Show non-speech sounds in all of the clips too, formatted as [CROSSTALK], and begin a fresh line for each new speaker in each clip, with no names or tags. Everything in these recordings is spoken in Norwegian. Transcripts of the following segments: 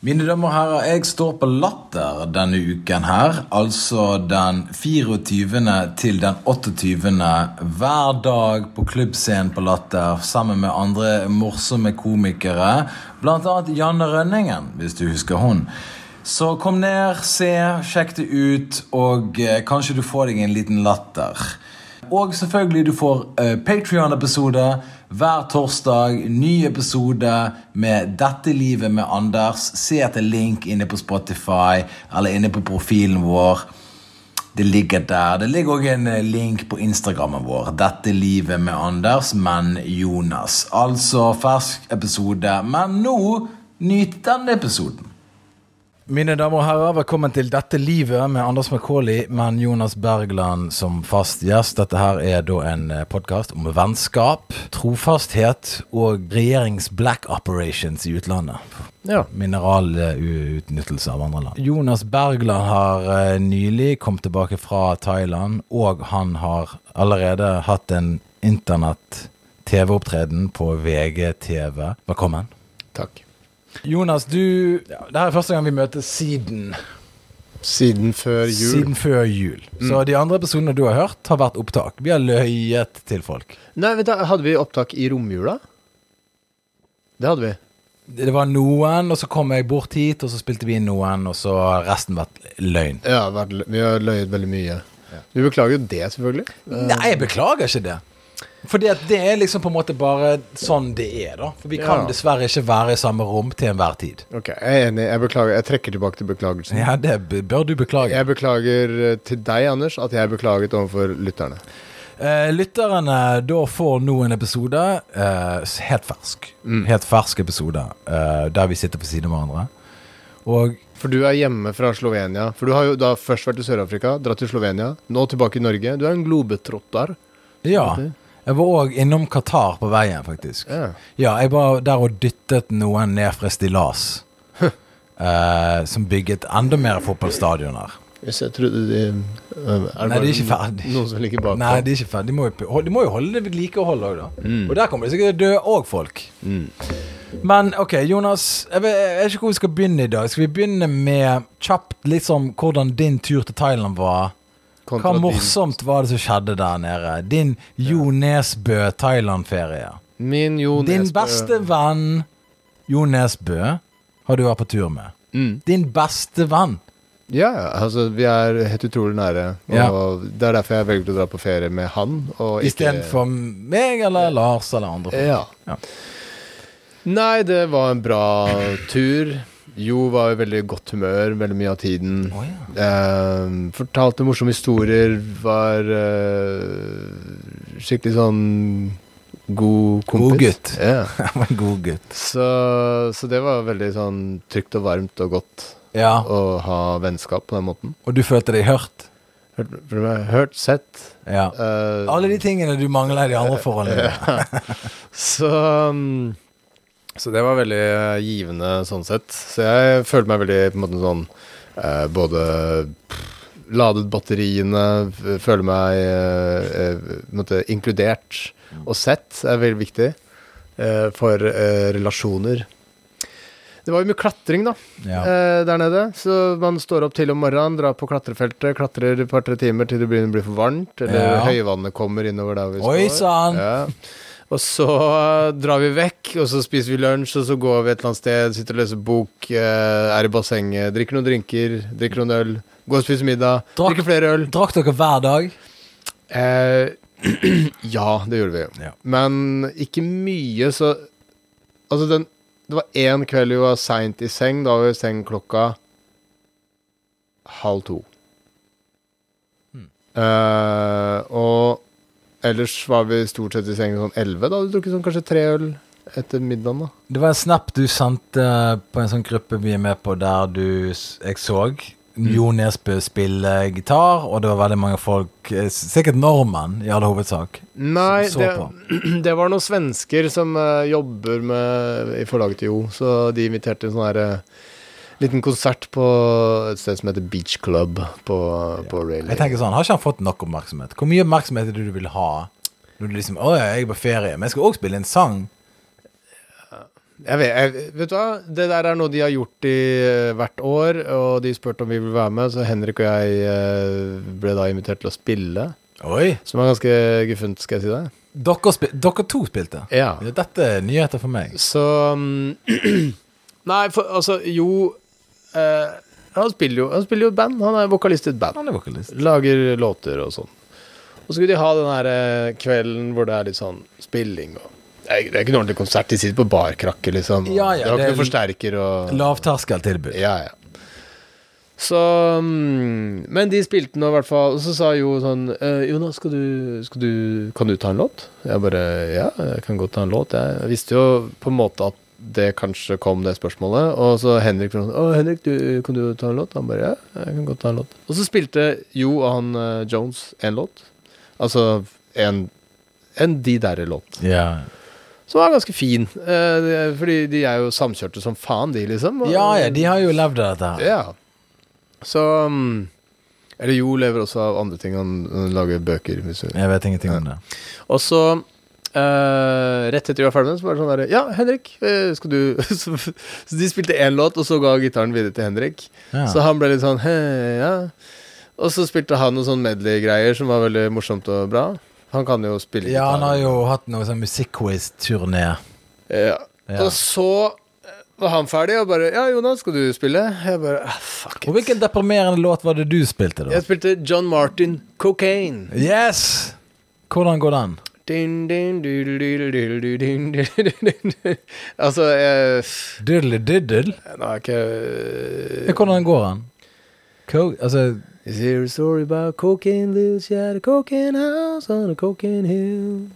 Mine damer og herrer, jeg står på Latter denne uken her. Altså den 24. til den 28. hver dag på klubbscenen på Latter sammen med andre morsomme komikere. Blant annet Janne Rønningen, hvis du husker hun. Så kom ned, se, sjekk det ut, og eh, kanskje du får deg en liten latter. Og selvfølgelig du får eh, Patreon-episode hver torsdag. Ny episode med 'Dette livet med Anders'. Se etter link inne på Spotify eller inne på profilen vår. Det ligger der. Det ligger òg en eh, link på Instagrammen vår. 'Dette livet med Anders, men Jonas'. Altså fersk episode. Men nå, nyt denne episoden. Mine damer og herrer, velkommen til Dette livet med Anders Macauley, men Jonas Bergland som fast gjest. Dette her er da en podkast om vennskap, trofasthet og regjerings black operations i utlandet.
Ja.
Mineralutnyttelse av andre land. Jonas Bergland har eh, nylig kommet tilbake fra Thailand, og han har allerede hatt en internett-TV-opptreden på VGTV. Velkommen.
Takk.
Jonas, du ja, Det her er første gang vi møtes siden
Siden før jul. Mm.
Siden før jul. Så de andre episodene du har hørt, har vært opptak. Vi har løyet til folk.
Nei, vent da, hadde vi opptak i romjula? Det hadde vi.
Det det var noen, og så kom jeg bort hit, og så spilte vi inn noen, og så har resten vært løgn.
Ja, vært lø- vi har løyet veldig mye. Vi beklager jo det, selvfølgelig.
Nei, jeg beklager ikke det. Fordi at det er liksom på en måte bare sånn det er, da. For vi kan
Ja.
dessverre ikke være i samme rom til enhver tid.
Ok, jeg er enig. Jeg beklager. Jeg trekker tilbake til beklagelsen.
Ja, det b- bør du beklage.
Jeg beklager eh, til deg, Anders, at jeg beklaget overfor lytterne.
Eh, lytterne da får nå en episode eh, helt fersk.
Mm.
Helt fersk episode eh, der vi sitter på siden av hverandre. Og
For du er hjemme fra Slovenia. For du har jo da først vært i Sør-Afrika, dratt til Slovenia, nå tilbake i Norge. Du er en globetrotter.
ja, jeg var òg innom Qatar på veien, faktisk.
Ja.
Ja, jeg var der og dyttet noen ned fra stillas. eh, som bygget enda mer fotballstadioner.
Hvis jeg trodde de eh,
Nei,
er
de er
bare
ikke ferdig.
Noen som ligger bakpå. Mm,
Nei, de er ikke ferdig. De må jo, p- hold- de må jo holde det ved likehold òg, da. Og der kommer det sikkert dø òg folk. Men ok, Jonas. Jeg vet, jeg vet ikke hvor vi skal begynne i dag. Skal vi begynne med kjapt liksom hvordan din tur til Thailand var?
Kontra
Hva
din-
morsomt var det som skjedde der nede? Din Jo Nesbø Thailand-ferie.
Min Jo
Din
Nesbø-
beste venn Jo Nesbø har du vært på tur med.
Mm.
Din beste venn.
Ja, ja, altså vi er helt utrolig nære. Og
Ja.
Det er derfor jeg velger å dra på ferie med han. og ikke-
Istedenfor meg eller Lars eller andre. folk.
ja.
Ja.
Nei, det var en bra tur. Jo var i veldig godt humør veldig mye av tiden.
Å,
[LAUGHS]
ja.
Eh, fortalte morsomme historier. Var eh, skikkelig sånn god kompis.
God gutt.
Ja.
Han var en god gutt.
Så, så det var veldig sånn trygt og varmt og godt
Ja.
å ha vennskap på den måten.
Og du følte deg hørt?
Hørt, hørt sett.
Ja.
eh,
Alle de tingene du mangler i de andre forholdene.
Så um, Så det var veldig eh, givende sånn sett. Så jeg følte meg veldig på en måte sånn eh, Både pff, ladet batteriene, f- føler meg eh, eh, på en måte inkludert og sett er veldig viktig eh, for eh, relasjoner. Det var jo mye klatring, da
Ja.
eh, der nede. Så man står opp til om morgenen, drar på klatrefeltet, klatrer et par-tre timer til det begynner å bli for varmt, eller
Ja.
høyvannet kommer innover der vi
Oi, sann!
Ja. Og så eh, drar vi vekk, og så spiser vi lunsj, og så går vi et eller annet sted, sitter og leser bok, eh, er i bassenget, drikker noen drinker, drikker noen øl, går og spiser middag,
Drakk-
drikker flere øl.
Drakk dere hver dag?
Eh, [CLEARS THROAT] ja, det gjorde vi.
Ja.
Men ikke mye, så Altså, den Det var én kveld vi var seint i seng. Da var vi i seng klokka halv to.
Hmm.
Eh, og ellers var vi stort sett i seng sånn elleve. Da hadde vi drukket sånn kanskje tre øl etter middagen, da.
Det var en snap du sendte på en sånn gruppe vi er med på, der du s- Jeg så Jo Nesbø spille gitar, og det var veldig mange folk, eh, s- sikkert nordmenn i all hovedsak.
Nei,
så
det, [CLEARS THROAT] det var noen svensker som eh, jobber med, i forlaget til Jo, så de inviterte en sånn her eh, liten konsert på et sted som heter Beach Club på, på Rayleigh.
Jeg tenker sånn, Har ikke han fått nok oppmerksomhet? Hvor mye oppmerksomhet er det du vil ha? Når du liksom Å ja, jeg er på ferie, men jeg skal også spille en sang.
Jeg vet, jeg, vet du hva, det der er noe de har gjort i eh, hvert år, og de spurte om vi ville være med, så Henrik og jeg eh, ble da invitert til å spille,
Oi!
som var ganske guffent, skal jeg si det.
Dere, spil dere to spilte.
Ja.
Ja, Dette er nyheter for meg.
Så mm, [CLEARS THROAT] Nei, for altså, jo eh, han, spiller jo han spiller jo i et band. Han er vokalist i et band.
Han er vokalist.
Lager låter og sånn. Og så skulle de ha den her eh, kvelden hvor det er litt sånn spilling og Det er det er ikke noe ordentlig konsert, de sitter på barkrakke, liksom. og
Ja, ja,
de har ikke
det er-
noen forsterker og
Lavterskeltilbud.
Ja, ja. Så mm, Men de spilte nå, i hvert fall. Og så sa Jo sånn eh, Jonas, skal du, skal du Kan du ta en låt? Jeg bare Ja, jeg kan godt ta en låt. Jeg visste jo på en måte at det kanskje kom, det spørsmålet. Og så Henrik sånn Å, Henrik, du, kan du ta en låt? Han bare Ja, jeg kan godt ta en låt. Og så spilte Jo og han eh, Jones en låt. Altså en, en de derre-låt.
Ja.
Som var ganske fin. Eh, det- fordi de er jo samkjørte som faen, de, liksom. og-
ja, ja, de har jo levd av dette her.
ja. Så mm, Eller Jo lever også av andre ting. Han han lager bøker. hvis du-
Jeg vet ingenting om det.
Og så eh, Rett etter vi var ferdig med den, så var det sånn derre Ja, Henrik, eh, skal du [LAUGHS] så, så de spilte én låt, og så ga gitaren videre til Henrik.
Ja.
Så han ble litt sånn He, ja. Og så spilte han noen sånn medley-greier som var veldig morsomt og bra. Han kan jo spille
ja, han
gitar.
har jo hatt noe sånn musikkquiz-turné.
Ja.
Ja.
Og så eh, var han ferdig og bare Ja, Jonas, skal du spille? Jeg bare ah, Fuck
Og hvilken deprimerende låt var det du spilte, da?
Jeg spilte John Martin Cocaine.
Yes! Hvordan går den?
Din, din, dudel, dudel, dudel, dudel, din, dudel, dudel, dudel. Altså jeg,
Diddle diddle?
Nå er ikke eh,
Ja, Hvordan går den? Co altså
Is there a story about cocaine lives? She had a cocaine house on a cocaine hill.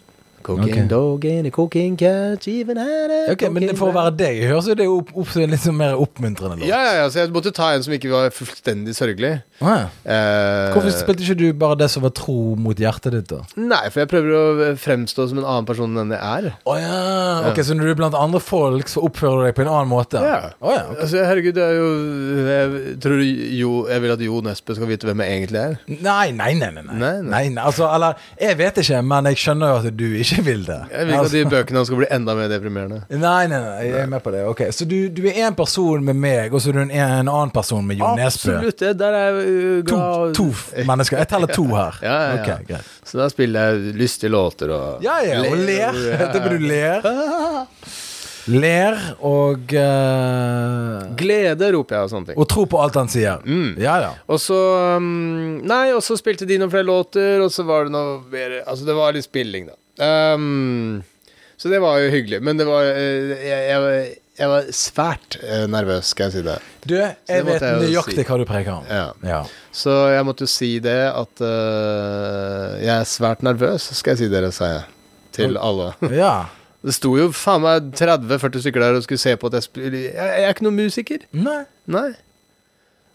Cocaine
Ok.
dog and a cocaine cat. She even had a
Ok, men
cocaine
for å
rat.
være deg, høres jo det opp, opp til en litt sånn mer oppmuntrende låt.
ja, ja, ja, så jeg måtte ta en som ikke var fullstendig sørgelig.
Ah, ja.
Eh,
Hvorfor spilte ikke du bare det som var tro mot hjertet ditt, da?
Nei, for jeg prøver å eh, fremstå som en annen person enn jeg er.
Å ja. Ok, Så når du er blant andre folk, så oppfører du deg på en annen måte?
Ja.
Å ja, ok.
Altså, herregud, det er jo Jeg tror jo Jeg vil at Jo Nesbø skal vite hvem jeg egentlig er.
Nei, nei, nei. nei, nei.
Nei, nei.
nei, nei. Altså, eller Jeg vet ikke, men jeg skjønner jo at du ikke vil det. Altså,
Jeg vil ikke at de bøkene hans skal bli enda mer deprimerende.
Nei, nei, nei, jeg er med på det. Ok, Så du, du er en person med meg, og så er du en, en annen person med Jon Nesbø.
Absolutt, det der er jeg
To,
glad
to f- mennesker. Jeg teller to her.
Ja, ja, ja.
Ok, greit.
Så da spiller jeg lystige låter og
Ja, ja, og
[LAUGHS]
ler. [LAUGHS] Etterpå du ler. Ler og eh,
Glede, roper jeg og sånne ting.
Og tro på alt han sier.
Mm.
Ja, ja.
Og så um, Nei, og så spilte de noen flere låter, og så var det noe mer Altså, det var litt spilling, da. Um, så det var jo hyggelig. Men det var eh, Jeg, jeg, var- jeg var svært eh, nervøs, skal jeg si det.
Du, jeg
måtte
vet
jeg jo
nøyaktig
si.
hva du preker om.
Ja.
Ja.
Så jeg måtte jo si det at eh, jeg er svært nervøs, skal jeg si dere, sa jeg. Til alle. [LAUGHS]
ja.
Det sto jo faen meg 30-40 stykker der og skulle se på at jeg spiller jeg, jeg er ikke noen musiker.
Nei.
Nei.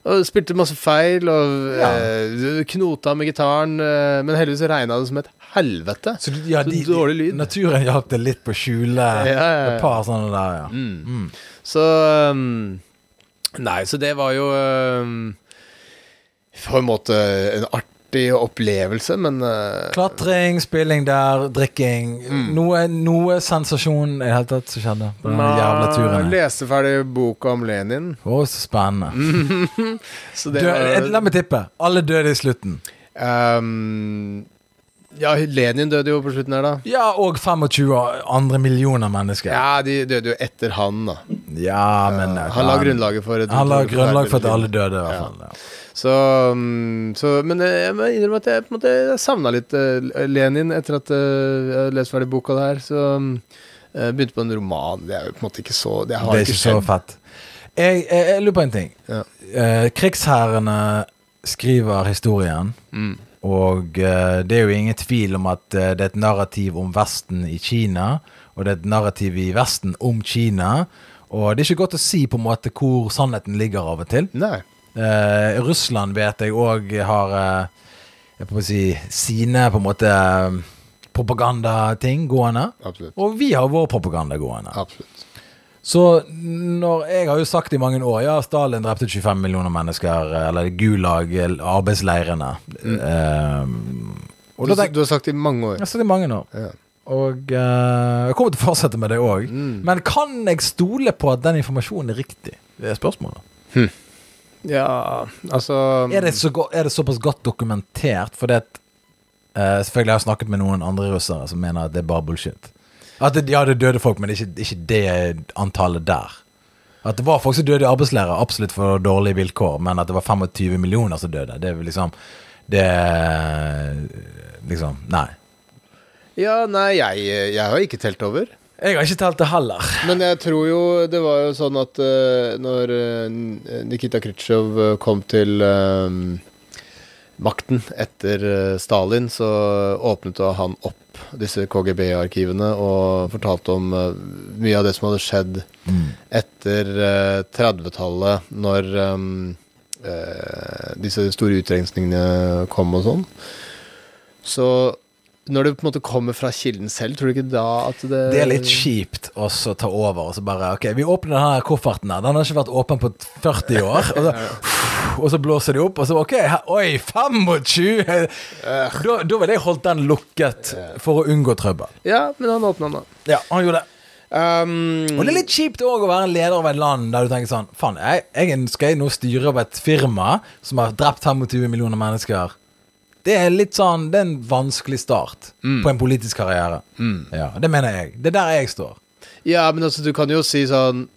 Og spilte masse feil og
Ja.
eh, knota med gitaren. eh, men heldigvis regna det som et helvete.
Så, du- ja,
Så
de,
dårlig lyd.
Naturen hjalp deg litt på å skjule
Ja, ja, ja. Mm.
et par sånne der, ja. Mm.
Så um, Nei, så det var jo um, På en måte en artig opplevelse, men eh,
Klatring, spilling der, drikking.
Mm.
Noe, noe sensasjon i det hele tatt som skjedde på den jævla turen. her.
Leste ferdig boka om Lenin.
Å, så spennende.
Så Mm, det
Død, eh, la meg tippe. Alle døde i slutten.
Ehm, Ja, Lenin døde jo på slutten her, da.
Ja, og 25 andre millioner mennesker.
Ja, de døde jo etter han, da.
Ja, men eh,
Han la grunnlaget for et
Han la grunnlag for at alle døde, i hvert
Ja.
fall. Ja.
Så, mm, så Men eh, jeg må innrømme at jeg på en måte savna litt eh, Lenin etter at eh, jeg leste ferdig boka der. Så mm, jeg begynte på en roman. Det er jo på en måte ikke så Det har
Det er ikke
ikke
så
skjedd.
fett. Jeg, jeg, jeg lurer på en ting.
Ja.
Eh, krigsherrene skriver historien,
Mm.
og eh, det er jo ingen tvil om at eh, det er et narrativ om Vesten i Kina, og det er et narrativ i Vesten om Kina. Og det er ikke godt å si på en måte hvor sannheten ligger av og til.
Nei.
Eh, Russland vet jeg òg har eh, jeg får si, sine på en måte eh, propagandating gående.
Absolutt.
Og vi har vår propaganda gående.
Absolutt.
Så når jeg har jo sagt i mange år Ja, Stalin drepte 25 millioner mennesker eh, Eller gulag, eller arbeidsleirene Eh,
Du,
Og da tenker
du har sagt det i mange år.
jeg har sagt i mange år
Ja.
Og eh, jeg kommer til å fortsette med det òg. Men kan jeg stole på at den informasjonen er riktig? Det er spørsmålet.
Ja, altså
Er det, så go er det såpass godt dokumentert? Fordi at eh, Selvfølgelig har jeg snakket med noen andre russere som mener at det er bare bullshit. At det, ja, det døde folk, men ikke, ikke det antallet der. At det var folk som døde i arbeidslære, absolutt for dårlige vilkår, men at det var 25 millioner som døde, det er vel liksom Det er Liksom, nei.
Ja, nei, jeg, jeg har ikke telt over.
Jeg har ikke telt det heller.
Men jeg tror jo det var jo sånn at eh, når eh, Nikita Khrusjtsjov eh, kom til eh, makten etter eh, Stalin, så åpnet da han opp disse KGB-arkivene og fortalte om eh, mye av det som hadde skjedd
Mm.
etter eh, 30-tallet, når eh, eh, disse store utrensningene kom og sånn. Så når det på en måte kommer fra kilden selv, tror du ikke da at det
Det er litt kjipt å så ta over og så bare Ok, vi åpner den her kofferten her. Den har ikke vært åpen på 40 år. Og så, [LAUGHS] og så blåser de opp, og så OK, her, oi, 25! Da, da ville jeg holdt den lukket for å unngå trøbbel.
Ja, men han åpna den, da.
Ja, han gjorde det.
Um,
Og det er litt kjipt òg å være en leder av et land der du tenker sånn Faen, jeg, jeg skal jeg nå styre over et firma som har drept 25 millioner mennesker? Det er litt sånn, det er en vanskelig start på en politisk karriere. Ja, Det mener jeg. Det er der jeg står.
ja, men altså, du kan jo si sånn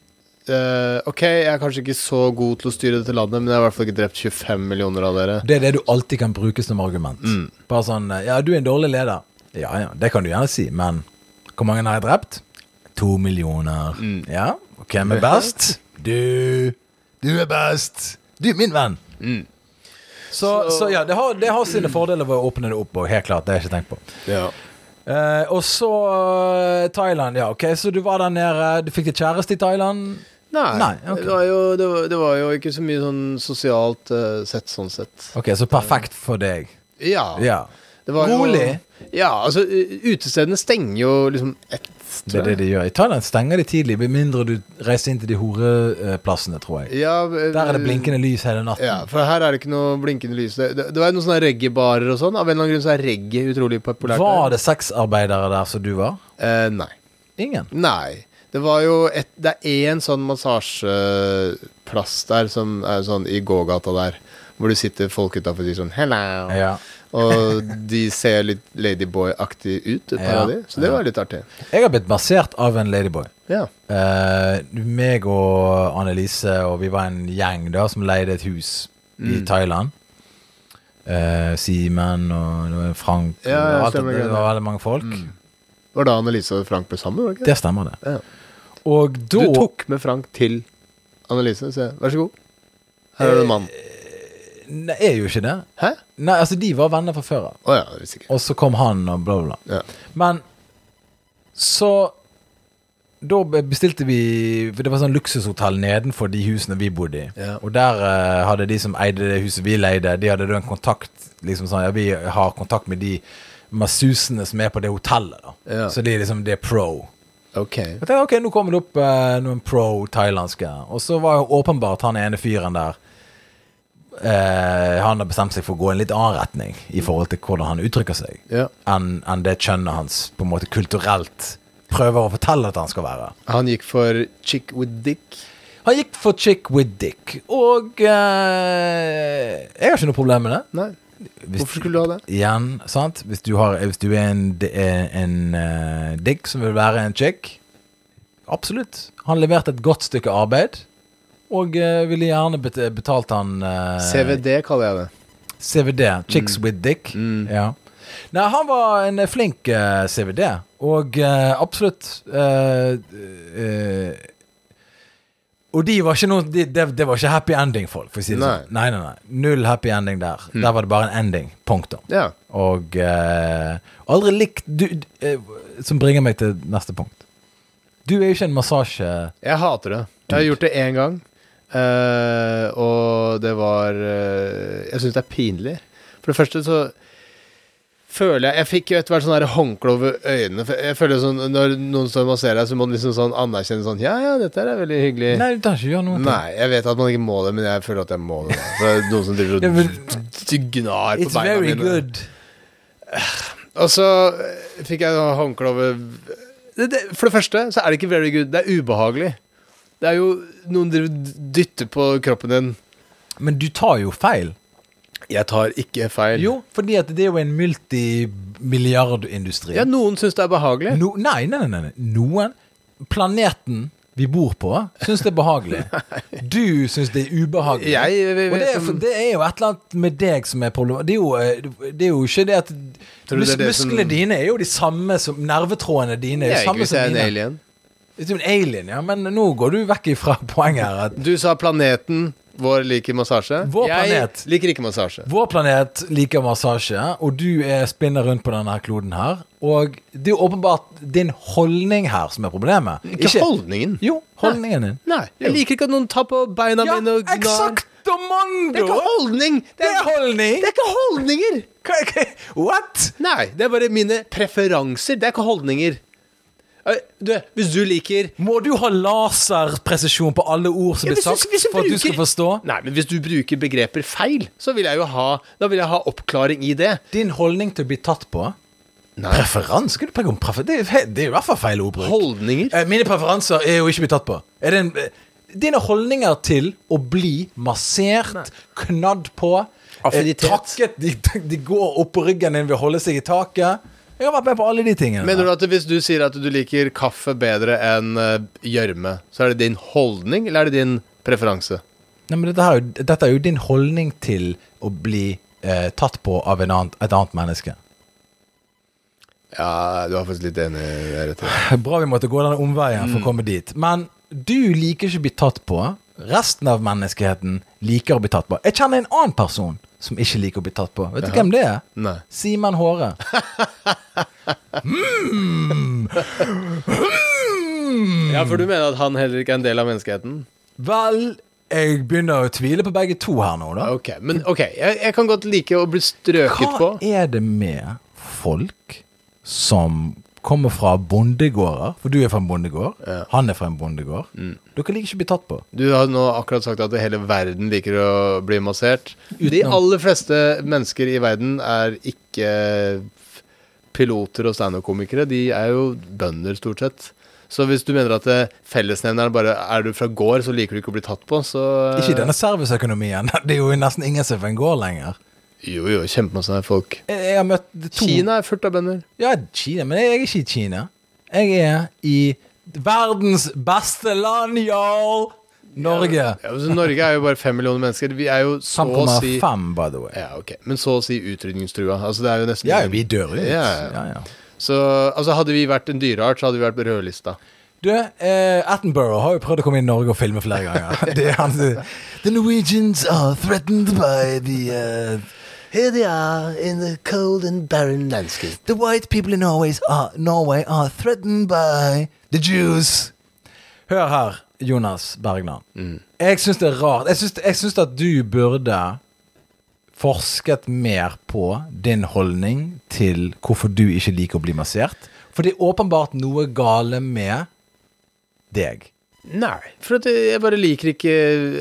eh, Ok, jeg er kanskje ikke så god til å styre dette landet, men jeg har i hvert fall ikke drept 25 millioner av dere.
Det er det du alltid kan bruke som argument. Bare sånn Ja, du er en dårlig leder. Ja ja, det kan du gjerne si, men hvor mange har jeg drept? To millioner. Mm. [LAUGHS] Ja, og hvem er best? Du. Du er best. Du er min venn. Så, Mm. så,
Så-
ja, det har, det har sine fordeler ved å åpne det opp, og helt klart, det har jeg ikke tenkt på.
Ja.
Eh, og så eh, Thailand, ja, ok, så du var der nede, du fikk deg kjæreste i Thailand?
Nei,
Nei, ok.
det, var jo, det, var, det var jo ikke så mye sånn sosialt eh, sett, sånn sett.
Ok, så perfekt for deg.
Ja.
Ja.
Det var jo-
Rolig.
Ja, altså, u- utestedene stenger jo liksom ett,
Det er
tror
det
jeg.
de gjør. I Thailand stenger de tidlig, med mindre du reiser inn til de horeplassene, tror jeg.
Ja, eh,
Der er det blinkende lys hele natten.
Ja, for her er det ikke noe blinkende lys. Det, det, det var jo noen sånne reggae-barer og sånn. Av en eller annen grunn så er reggae utrolig populært.
Var det sexarbeidere der som du var?
Eh, nei.
Ingen.
Nei. Det var jo et, Det er én sånn massasjeplass der som er sånn i gågata der. Hvor det sitter folk utafor og sier sånn 'hello'.
Ja.
Og de ser litt Ladyboy-aktig ut, et par
Ja.
av de. Så det
Ja.
var litt artig.
Jeg har blitt massert av en ladyboy.
Ja.
Eh, meg og Annelise og vi var en gjeng da som leide et hus i
Mm.
Thailand. Eh, Simen og det var Frank
Ja, ja, Mm.
det var alt-
stemmer,
Det
det.
var veldig mange folk.
Var da Annelise og Frank ble sammen? var det ikke?
Det stemmer, det.
Ja.
Og da
Du tok med Frank til Annelise. Så jeg, vær så god. Her er det en mann.
Eh. Nei, er jo ikke det.
Hæ?
Nei, altså, de var venner fra før av.
Å ja, det visste jeg ikke.
Og så kom han og bla, bla, bla.
Ja.
Men så Da be- bestilte vi For det var sånn luksushotell nedenfor de husene vi bodde i.
Ja.
Og der eh, hadde de som eide det huset vi leide, de hadde da en kontakt liksom sånn, ja, Vi har kontakt med de massusene som er på det hotellet. da
Ja.
Så de er liksom det er pro.
Ok.
Jeg tenkte, ok, nå kommer det opp eh, noen pro thailandske. Og så var jo åpenbart han ene fyren der eh, Han har bestemt seg for å gå i en litt annen retning i forhold til hvordan han uttrykker seg,
Ja.
enn enn det kjønnet hans på en måte kulturelt prøver å fortelle at han skal være.
Han gikk for chick with dick.
Han gikk for chick with dick, og eh, jeg har ikke noe problem med det.
Nei.
Hvis-
Hvorfor skulle du ha det?
Igjen, sant? Hvis du, har, hvis du er en, d- en, en eh, digg som vil være en chick Absolutt. Han leverte et godt stykke arbeid, og eh, ville gjerne bet betalt han eh,
CVD kaller jeg det.
CVD. Chicks
Mm.
with dick. Ja. Nei, han var en flink eh, CVD, og eh, absolutt eh, eh, og de var ikke noe, de, det, det var ikke happy ending, folk. For å si det
Nei. Mm.
sånn. nei, nei, nei. Null happy ending der. Der var det bare en ending. Punktum.
Ja.
Og eh, aldri likt du, d- eh, Som bringer meg til neste punkt. Du er jo ikke en massasje...
Jeg hater det. Jeg har gjort det én gang, eh, og det var eh, Jeg syns det er pinlig. For det første så føler jeg Jeg fikk jo etter hvert sånn her håndkle over øynene. For Jeg føler sånn Når noen står og masserer deg, så må du liksom sånn anerkjenne sånn Ja, ja, dette her er veldig hyggelig.
Nei, du kan ikke gjøre noe.
Eh. Nei, jeg vet at man ikke må det, men jeg føler at jeg må det. For det er noen som driver
Ja,
og
men-
d- d- gnar på
It's
beina
very
mine.
good.
Og så eh, fikk jeg håndkle over det, det, For det første så er det ikke very good. Det er ubehagelig. Det er jo noen driver og dytter på kroppen din.
Men du tar jo feil.
Jeg tar ikke feil.
Jo, fordi at det er jo en multimilliardindustri.
Ja, noen syns det er behagelig.
No, nei, nei, nei, nei. Noen Planeten vi bor på, syns det er
[LAUGHS]
behagelig. Du syns det er ubehagelig.
Jeg, jeg, jeg,
Og det er, for, det er jo et eller annet med deg som er problemet. Det er jo, eh, det er jo ikke det at
Tror du det er det som-
Musklene dine er jo de samme som Nervetrådene dine er
jeg,
jo samme
hvis jeg
som
er en
dine.
alien.
Det er jo en alien, ja, men nå går du vekk ifra poenget her. At
Du sa planeten vår liker massasje.
Vår
jeg
planet.
liker ikke massasje.
Vår planet liker massasje, og du er spinner rundt på denne her kloden her. Og det er jo åpenbart din holdning her som er problemet.
Ikke, holdningen.
Jo, holdningen din.
Nei, jeg liker ikke at noen tar på beina
Ja,
mine og gnar.
eksakt!
Det er
Domando!
ikke holdning!
Det er holdning!
det er ikke holdninger!
Hva- hva- What?
Nei, det er bare mine preferanser. Det er ikke holdninger. Eh, Du, hvis du liker
Må du ha laserpresisjon på alle ord som
Ja,
blir
hvis du-
sagt,
hvis du
for at du
bruker-
skal forstå?
Nei, men hvis du bruker begreper feil, så vil jeg jo ha Da vil jeg ha oppklaring i det.
Din holdning til å bli tatt på? Preferanse? Skal du preke om prefer det, er, fe- det er i hvert fall feil ordbruk.
Holdninger.
Eh, Mine preferanser er jo ikke blitt tatt på. Er det en, eh, dine holdninger til å bli massert, knadd på, eh,
Affinitet.
takket de, de går opp på ryggen din ved å holde seg i taket Jeg har vært med på alle de tingene.
Mener du at hvis du sier at du liker kaffe bedre enn eh, gjørme, så er det din holdning, eller er det din preferanse?
Nei, men dette, her, er jo- dette er jo din holdning til å bli eh, tatt på av en annet, et annet menneske.
Ja, du er faktisk litt enig i det. Rett og slett.
Bra vi måtte gå denne omveien for å komme dit. Men du liker ikke å bli tatt på. Resten av menneskeheten liker å bli tatt på. Jeg kjenner en annen person som ikke liker å bli tatt på. Vet du hvem det er?
Nei.
Simen Håre.
Ja, for du mener at han heller ikke er en del av menneskeheten?
Vel, jeg begynner å tvile på begge to her nå, da.
Ok, men ok, jeg, jeg kan godt like å bli strøket på.
Hva er det med folk som kommer fra bondegårder? For du er fra en bondegård, han er fra en bondegård.
Mm.
Dere liker ikke å bli tatt på.
Du har nå akkurat sagt at hele verden liker å bli massert. De
Utenom-
aller fleste mennesker i verden er ikke piloter og standup-komikere. De er jo bønder, stort sett. Så hvis du mener at eh, fellesnevneren bare er du fra gård, så liker du ikke å bli tatt på, så eh,
Ikke i denne serviceøkonomien. [LAUGHS] Det er jo nesten ingen som er fra en gård lenger.
Jo, jo, kjempemasse folk.
Jeg, jeg har møtt to
Kina er fullt av bønder.
Ja, Kina, men jeg er ikke i Kina. Jeg er i verdens beste land, y'all! Norge.
Ja, altså, Norge er jo bare fem millioner mennesker. Vi er jo så å si
5,5, by the way.
Ja, ok. Men så å si utrydningstrua. Altså, det er jo nesten
Ja, vi dør ut.
Ja, ja.
Ja, ja.
Så altså, hadde vi vært en dyreart, så hadde vi vært på rødlista.
Du, eh, Attenborough har jo prøvd å komme inn i Norge og filme flere [LAUGHS] ganger. Det er han eh, The Norwegians are threatened by the uh,
Here they are in the cold and barren landscape.
The white people in Norway are, Norway are threatened by the Jews. Mm. Hør her, Jonas Bergland. Jeg syns det er rart. Jeg syns, jeg syns at du burde forsket mer på din holdning til hvorfor du ikke liker å bli massert. For det er åpenbart noe gale med deg. [LAUGHS]
Nei, for at eh, jeg bare liker ikke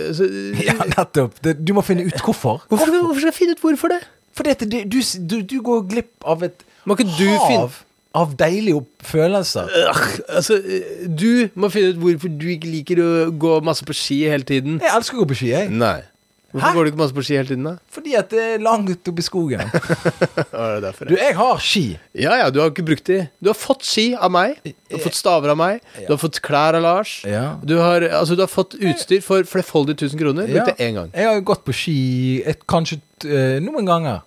altså,
Ja, nettopp. Det, du må finne ut hvorfor.
hvorfor, hvorfor skal jeg finne ut hvorfor det?
For dette, du, du, du, du går glipp av et
Må ikke du finne-
hav av deilige opp- følelser.
Altså, du må finne ut hvorfor du ikke liker å gå masse på ski hele tiden.
Jeg elsker å gå på ski, jeg.
Nei. Hvorfor
Hæ?
går du ikke masse på ski hele tiden, [LAUGHS] da?
Fordi at det er langt oppe i skogen.
Er det derfor,
[LAUGHS] Du, jeg har ski.
Ja, ja, du har ikke brukt de. Du har fått ski av meg, du har fått staver av meg, du har fått klær av Lars.
Ja.
Du, har, altså, du har fått utstyr for flerfoldig tusen kroner.
Ja.
Brukte én gang.
Jeg har jo gått på ski et, kanskje eh, noen ganger.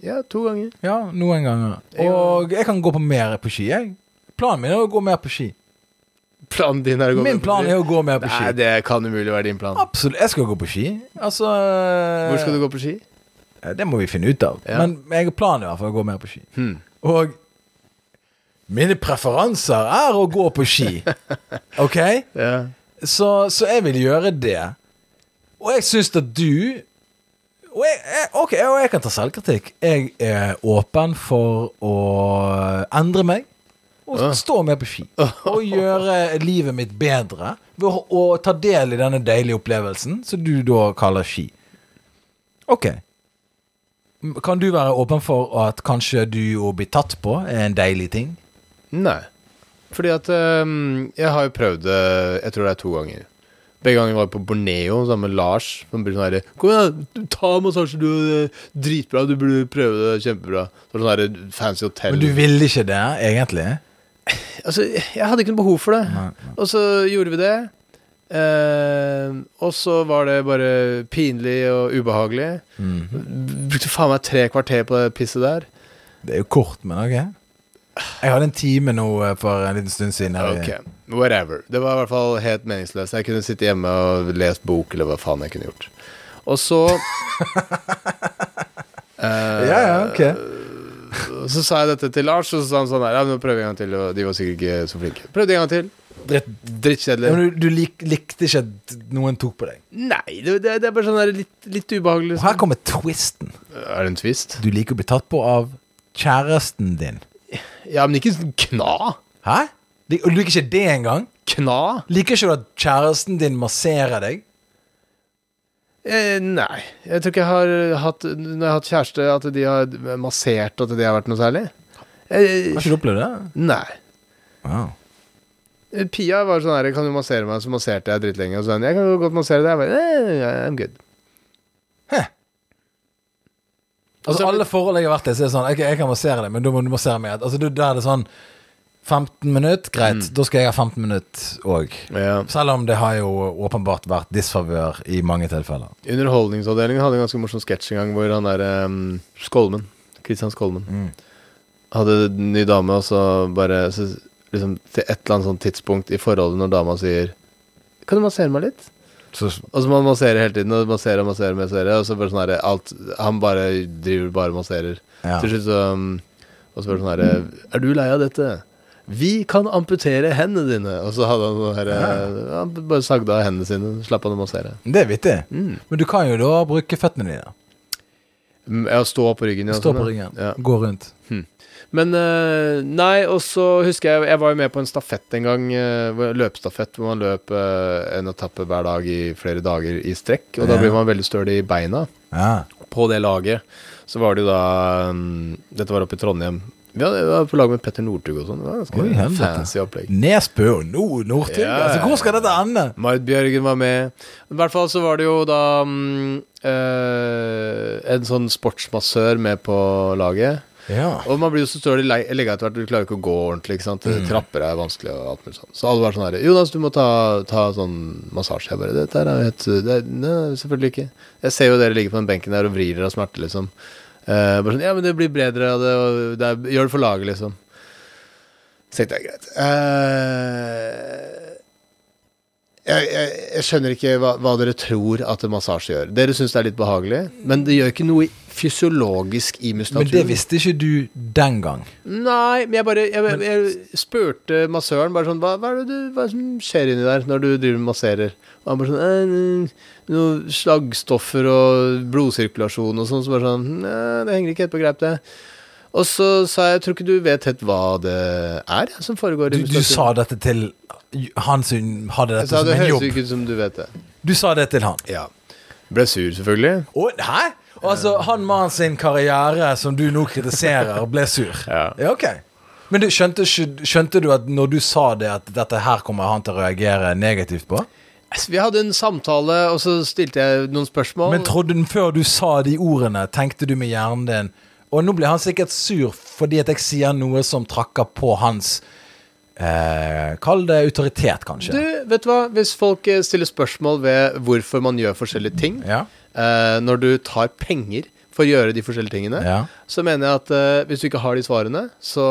Ja, to ganger.
Ja, noen ganger. Og jeg kan gå på mer på ski, jeg. Planen min er å gå mer på ski.
Planen din er å gå
Min plan er å gå mer på
Nei,
ski.
det kan umulig være din plan.
Absolutt. Jeg skal gå på ski. Altså
Hvor skal du gå på ski?
Eh, Det må vi finne ut av.
Ja.
Men jeg har planen i hvert fall å gå mer på ski. Og mine preferanser er å gå på ski. OK?
Ja.
Så, så jeg vil gjøre det. Og jeg syns at du og jeg, jeg, Ok, og jeg kan ta selvkritikk. Jeg er åpen for å endre meg. Og stå mer på ski. Og gjøre livet mitt bedre ved å, å ta del i denne deilige opplevelsen som du da kaller ski. Ok. Kan du være åpen for at kanskje du å bli tatt på er en deilig ting?
Nei. Fordi at ehm, jeg har jo prøvd det Jeg tror det er to ganger. Begge ganger var jeg på Borneo sammen med Lars. Som blir sånn herre Kom igjen, du- ta massasje, du er dritbra, du burde prøve det, kjempebra. Så var det sånn herre fancy hotell.
Men du ville ikke det, egentlig?
Altså, jeg hadde ikke noe behov for det.
Nei.
Og så gjorde vi det. Eh, og så var det bare pinlig og ubehagelig.
Mhm.
Brukte faen meg tre kvarter på det pisset der.
Det er jo kort, men ok. Jeg hadde en time nå eh, for en liten stund siden. her i-
Ok, whatever. Det var i hvert fall helt meningsløst. Jeg kunne sitte hjemme og lest bok, eller hva faen jeg kunne gjort.
[LAUGHS]
Og så Eh,
Ja, ja, ok.
og Så sa jeg dette til Lars, og så sa han sånn her Ja, nå prøver jeg en gang til, og de var sikkert ikke så flinke. Prøvde en gang til.
Dritt. Ja,
Drittkjedelig.
men du du lik, likte ikke at noen tok på deg.
Nei, det, det, det er bare sånn der litt, litt ubehagelig.
Og her kommer twisten.
Er det en twist?
Du liker å bli tatt på av kjæresten din.
Ja, men ikke sånn kna.
Hæ? Lik- Og du liker ikke det engang?
Kna?
Liker ikke du at kjæresten din masserer deg?
Eh, nei. Jeg tror ikke jeg har hatt Når jeg har hatt kjæreste, at de har massert at det har vært noe særlig. Eh,
Har ikke du opplevd det?
nei.
Wow.
Eh, Pia var sånn her, kan du massere meg? Så masserte jeg drittlenge. Og sånn, jeg kan godt massere deg. Jeg bare, eh, I'm good.
Altså
Altså,
Alle forhold jeg har vært i, så er det sånn Ok, jeg kan massere deg, men da må du massere meg. Altså, du- da er det sånn 15 minutter, greit. Da skal jeg ha 15 minutter òg.
Ja.
Selv om det har jo åpenbart vært disfavør i mange tilfeller.
Underholdningsavdelingen hadde en ganske morsom sketsj en gang hvor han der ehm, Skolmen, Kristian Skolmen, hadde en ny dame, og så bare så, liksom, Til et eller annet sånt tidspunkt i forholdet når dama sier Kan du massere meg litt?
Så
Og så må han massere hele tiden, og massere og massere, massere og så bare sånn her alt, Han bare driver bare og masserer.
Ja.
Til slutt så um, Og så bare sånn her Er du lei av dette? Vi kan amputere hendene dine! Og så hadde han sånn her Han bare sagde av hendene sine, så slapp han å massere.
det er vittig. Men du kan jo da bruke føttene dine.
Mm, Ja, stå på ryggen. Ja,
Stå på
sånn, ja.
ryggen,
Ja.
gå rundt.
Men eh, nei, og så husker jeg Jeg var jo med på en stafett en gang, eh, hvor- løpestafett, hvor man løp eh, en etappe hver dag i flere dager i strekk. Og da
Ja.
blir man veldig støl i beina.
Ja.
På det laget så var det jo da mm, Dette var oppe i Trondheim. Vi hadde- vi var på lag med Petter Northug og sånn. Det var ganske
Oi, helvete.
fancy opplegg.
Nesbø og no, Northug.
Ja, ja, ja.
Altså, hvor skal dette ende?
Marit Bjørgen var med. I hvert fall så var det jo da mm, eh, en sånn sportsmassør med på laget.
Ja.
Og man blir jo så støl i lei- legga etter hvert, du klarer ikke å gå ordentlig. ikke sant?
Mm.
Trapper er vanskelig og alt mulig sånt. Så alle var sånn her Jonas, du må ta, ta sånn massasje. Jeg bare Dette her er jo helt det, er- Nei, selvfølgelig ikke. Jeg ser jo dere ligger på den benken der og vrir dere av smerte, liksom. Eh, bare sånn Ja, men det blir bedre av det, og det er, gjør det for laget, liksom. Så tenkte jeg greit. Eh, jeg, jeg, jeg skjønner ikke hva, hva dere tror at en massasje gjør. Dere syns det er litt behagelig, men det gjør ikke noe i- fysiologisk i muskulaturen.
Men det visste ikke du den gang.
Nei, men jeg bare Jeg, jeg spurte massøren bare sånn hva, hva, er det du, hva er det som skjer inni der når du driver og masserer? Og han bare sånn eh, Noen slagstoffer og blodsirkulasjon og sånn. Så bare sånn Nei, det henger ikke helt på greip, det. Og så sa jeg jeg tror ikke du vet helt hva det er som foregår.
Du,
i
du sa dette til han som hadde dette
Jeg sa
som
det
en
høres
jobb.
jo ikke ut som du vet det.
Du sa det til han.
Ja. Ble sur, selvfølgelig.
Å, hæ? Altså, han mannen sin karriere som du nå kritiserer, ble sur.
Ja.
Ja, ok. Men du, skjønte, ikke- skjønte du at når du sa det, at dette her kommer han til å reagere negativt på?
Altså, Vi hadde en samtale, og så stilte jeg noen spørsmål.
Men trodde du før du sa de ordene, tenkte du med hjernen din Og nå blir han sikkert sur fordi at jeg sier noe som trakker på hans eh, Kall det autoritet, kanskje.
Du, vet du hva? Hvis folk eh, stiller spørsmål ved hvorfor man gjør forskjellige ting,
Ja.
eh, når du tar penger for å gjøre de forskjellige tingene,
Ja.
så mener jeg at eh, hvis du ikke har de svarene, så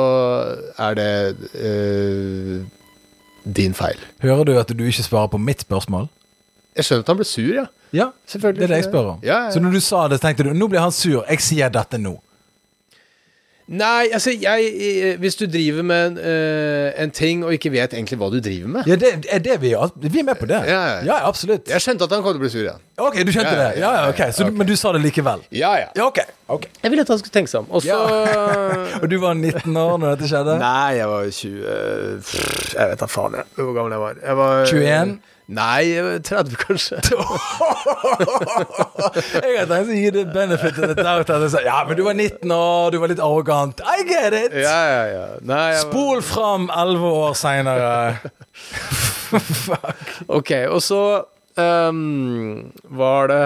er det eh, din feil.
Hører du at du ikke svarer på mitt spørsmål?
Jeg skjønner at han ble sur, ja.
Ja,
Selvfølgelig.
det er det jeg spør om.
Ja, ja, ja.
Så når du sa det, tenkte du nå blir han sur, jeg sier dette nå.
Nei, altså, jeg eh, Hvis du driver med eh, en ting og ikke vet egentlig hva du driver med
Ja, det, er det vi, vi er med på det.
Ja, ja, ja.
absolutt.
Jeg skjønte at han kom til å bli sur, ja.
Ok, du skjønte
Ja, ja,
det. Ja, ja, ok. Så, du- Men du sa det likevel.
Ja, ja.
Ja, ok. ok.
Jeg ville at han skulle tenke seg om. Og så [LAUGHS]
Og du var 19 år når dette skjedde?
Nei, jeg var 20 pff, Jeg vet da faen jeg, hvor gammel jeg var. Jeg var
21?
Nei, 30 kanskje. [LAUGHS]
Jeg har tenkt å gi det benefit of the doubt. At jeg sa, ja, men du var 19 år, du var litt arrogant. I get it!
Ja, ja, ja. Nei, jeg,
Spol fram 11 år seinere.
Ok, og så ehm, var det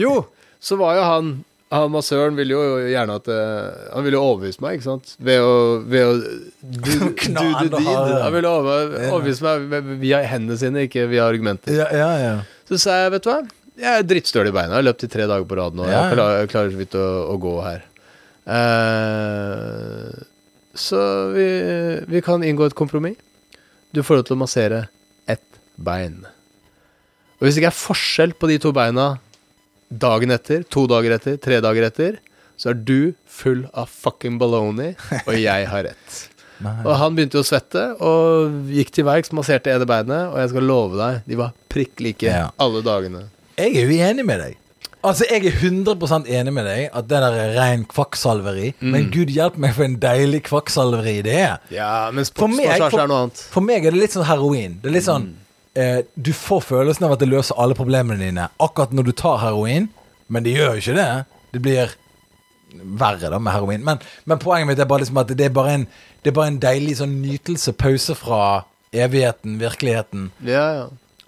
Jo, så var jo han Han massøren ville jo gjerne at eh, Han ville jo overbevise meg, ikke sant? Ved å, ved å do, do
Kna
the
enda
deed.
hardere.
Han ville overbe- overbevise meg ved- via hendene sine, ikke via argumenter.
Ja, ja, ja.
Så sa jeg, vet du hva Jeg er drittstøl i beina, jeg har løpt i tre dager på rad nå
Ja, ja.
Jeg klarer, jeg klarer så vidt å, å gå her Eh, Så vi, vi kan inngå et kompromiss Du får lov til å massere ett bein Og hvis det ikke er forskjell på de to beina Dagen etter, to dager etter, tre dager etter Så er du full av fucking baloney Og jeg har rett
Nei.
og han begynte jo å svette, og gikk til verks, masserte ene beinet, og jeg skal love deg, de var prikk like
Ja.
alle dagene.
Jeg er uenig med deg. Altså, Jeg er 100 enig med deg at det der er ren kvakksalveri. Men
Mm.
gud hjelpe meg for en deilig kvakksalveri det er.
Ja, men
For meg,
sportsmassasje er noe annet.
for meg er det litt sånn heroin. Det er litt sånn eh, Du får følelsen av at det løser alle problemene dine akkurat når du tar heroin, men det gjør jo ikke det. Det blir verre da med heroin. Men, men poenget mitt er bare liksom at det er bare en, det er bare en deilig sånn nytelse, pause fra evigheten, virkeligheten.
Ja, ja.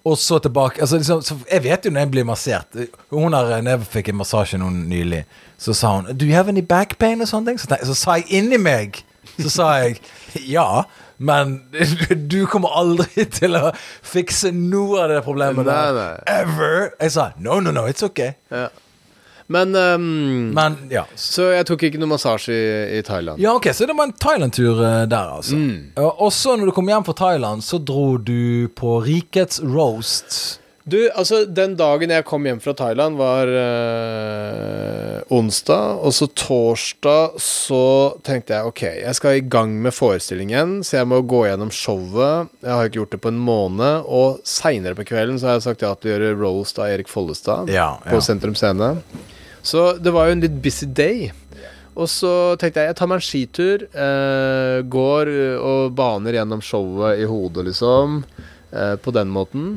Og så tilbake altså liksom, så Jeg vet jo når jeg blir massert Hun her, når jeg fikk en massasje noen nylig Så sa hun Do you have any back pain? Og sånne ting Så, tenkte, så sa jeg inni meg Så sa jeg Ja, men [LAUGHS] du kommer aldri [LAUGHS] til å fikse noe av det problemet der
Nei, nei.
Ever Jeg sa No, no, no, it's okay
Men ehm,
Men ja
Så jeg tok ikke noe massasje i, i Thailand.
ja, ok, så det var en Thailand-tur eh, der altså
Mm.
Og og så når du kom hjem fra Thailand Så dro du på Rikets Roast
Du, altså, den dagen jeg kom hjem fra Thailand, var eh, onsdag, og så torsdag så tenkte jeg ok, jeg skal i gang med forestillingen, så jeg må gå gjennom showet. Jeg har ikke gjort det på en måned, og seinere på kvelden så har jeg sagt ja til å gjøre roast av Erik Follestad
Ja, ja.
på Sentrum Scene. Så det var jo en litt busy day. Og så tenkte jeg jeg tar meg en skitur. Eh, går eh, og baner gjennom showet i hodet, liksom. Eh, på den måten.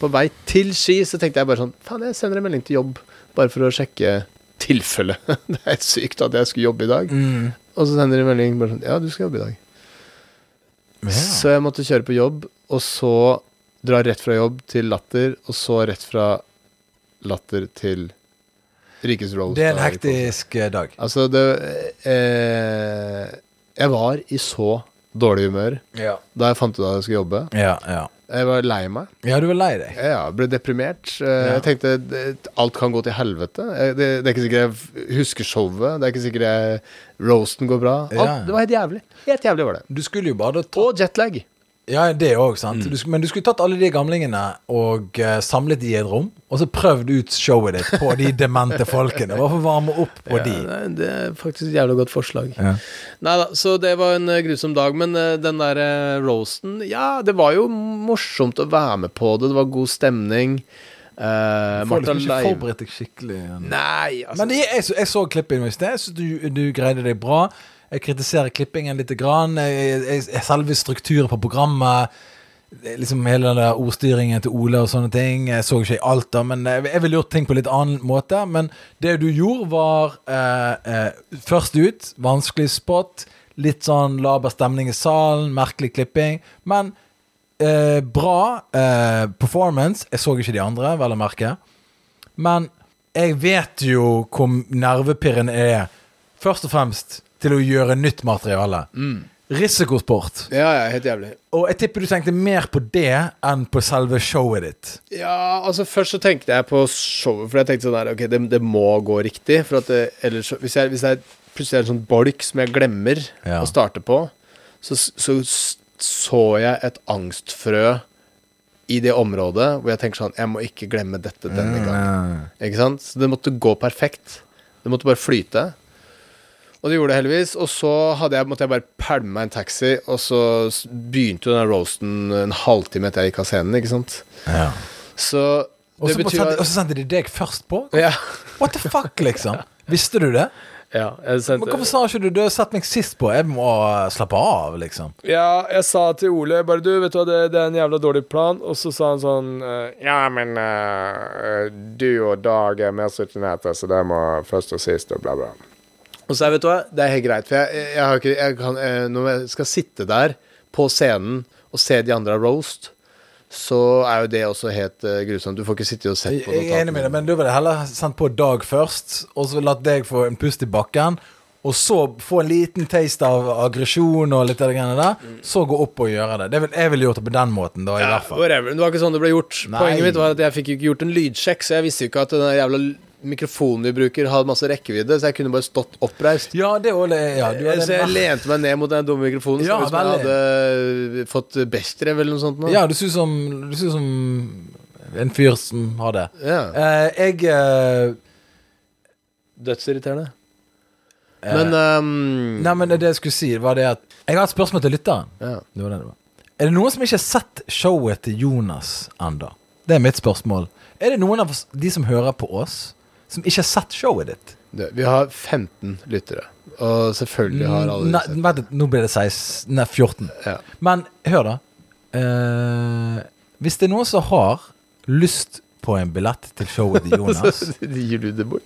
På vei til Ski så tenkte jeg bare sånn Faen, jeg sender en melding til jobb bare for å sjekke tilfelle. [LAUGHS] det er helt sykt at jeg skulle jobbe i dag. Og så sender de en melding bare sånn Ja, du skal jobbe i dag.
ja.
Så jeg måtte kjøre på jobb, og så dra rett fra jobb til Latter, og så rett fra Latter til Rikes Rolls.
Det er en
da, i Kolsås.
hektisk eh, dag
Altså, det eh, Jeg var i så dårlig humør
Ja
da jeg fant ut at jeg skulle jobbe.
Ja, ja.
Jeg var lei meg.
Ja, du er lei deg.
Ja, ble deprimert. Eh, Jeg tenkte det- alt kan gå til helvete. Eh, Det, det er ikke sikkert jeg f- husker showet. Det er ikke sikkert jeg, roasten går bra. Alt,
Ja.
Det var helt jævlig. Helt jævlig var det.
Du skulle jo bare ta
Og jetlag.
Ja, det òg, sant. Du sk- men du skulle tatt alle de gamlingene og eh, samlet de i et rom, og så prøvd ut showet ditt på de demente folkene. Bare for å varme opp på de.
Ja, nei, det er faktisk et jævla godt forslag.
Ja.
Nei da, så det var en eh, grusom dag. Men eh, den der eh, roasten Ja, det var jo morsomt å være med på det. Det var god stemning. Uh,
Får
Martha
liksom ikke
Leiv
forberedt deg skikkelig. igjen.
Nei, altså
Men det, jeg, så- jeg så klippet nå i sted. Jeg synes du, du greide deg bra. Jeg kritiserer klippingen litt. Grann. Jeg, jeg, jeg- selve strukturen på programmet. det- Liksom hele den der ordstyringen til Ole og sånne ting. Jeg så ikke alt, da, men jeg, jeg ville gjort ting på litt annen måte. Men det du gjorde, var eh, eh, først ut, vanskelig spot, litt sånn laber stemning i salen, merkelig klipping. Men eh, bra eh, performance. Jeg så ikke de andre, vel å merke. Men jeg vet jo hvor nervepirrende jeg er. Først og fremst til å gjøre nytt materiale.
Mm.
Risikosport.
Ja, ja, helt jævlig.
Og jeg tipper du tenkte mer på det enn på selve showet ditt.
Ja, altså Først så tenkte jeg på showet, for jeg tenkte sånn her Ok, det, det må gå riktig. For at det, ellers, så- hvis, jeg, hvis jeg plutselig er en sånn bolk som jeg glemmer
Ja.
å starte på, så, så s- så jeg et angstfrø i det området hvor jeg tenker sånn Jeg må ikke glemme dette denne gangen. Ikke sant? Så det måtte gå perfekt. Det måtte bare flyte. Og det gjorde det heldigvis. Og så hadde jeg, måtte jeg bare pælme meg en taxi, og så s- begynte jo den der roasten en halvtime etter jeg gikk av scenen, ikke sant.
Ja.
Så
Og
det
så bare
betyr
sendte- og
at
så sendte de deg først på?
ja. [LAUGHS]
What the fuck, liksom? Visste du det?
Ja, jeg
Men
sendte
hvorfor sa ikke du du har sett meg sist på? Jeg må eh, slappe av, liksom.
Ja, jeg sa til Ole jeg bare Du, vet du hva, det, det er en jævla dårlig plan. Og så sa han sånn eh, Ja, men eh, du og Dag er mer sultne så det må først og sist, og bla, bla. Og så, vet du hva, det er helt greit, for jeg, jeg har ikke jeg kan, eh, Når jeg skal sitte der på scenen og se de andre roast, så er jo det også helt eh, grusomt. Du får ikke sitte og se
Jeg
på
jeg er enig med deg, men du ville heller sendt på Dag først, og så latt deg få en pust i bakken, og så få en liten taste av aggresjon og litt av det greiene der, så gå opp og gjøre det. det vil, jeg ville gjort det på den måten, da, i
Ja,
hvert fall.
whatever. Det var ikke sånn det ble gjort.
Nei.
Poenget mitt var at jeg fikk jo ikke gjort en lydsjekk, så jeg visste jo ikke at den der jævla mikrofonen vi bruker, har masse rekkevidde, så jeg kunne bare stått oppreist.
Ja, det er også- ja, du
så jeg
hadde
lente meg ned mot den dumme mikrofonen,
Ja,
som hvis man
veldig.
hadde fått bestrev eller noe sånt. Nå.
Ja, du ser ut som, du ser ut som en fyr som har det.
Ja.
Eh, jeg eh,
Dødsirriterende.
Eh,
Men ehm,
Nei, men det jeg skulle si, var det at Jeg har et spørsmål til lytteren.
ja.
Det var det det var. Er det noen som ikke har sett showet til Jonas enda? Det er mitt spørsmål. Er det noen av oss- de som hører på oss, som ikke har sett showet ditt?
det, Vi har 15 lyttere, og selvfølgelig har alle
Nei,
disse-
vent litt, nå ble det 16, nei, 14.
Ja.
Men hør, da. Eh, hvis det er noen som har lyst på en billett til showet
[LAUGHS]
til Jonas
De Gir du det bort?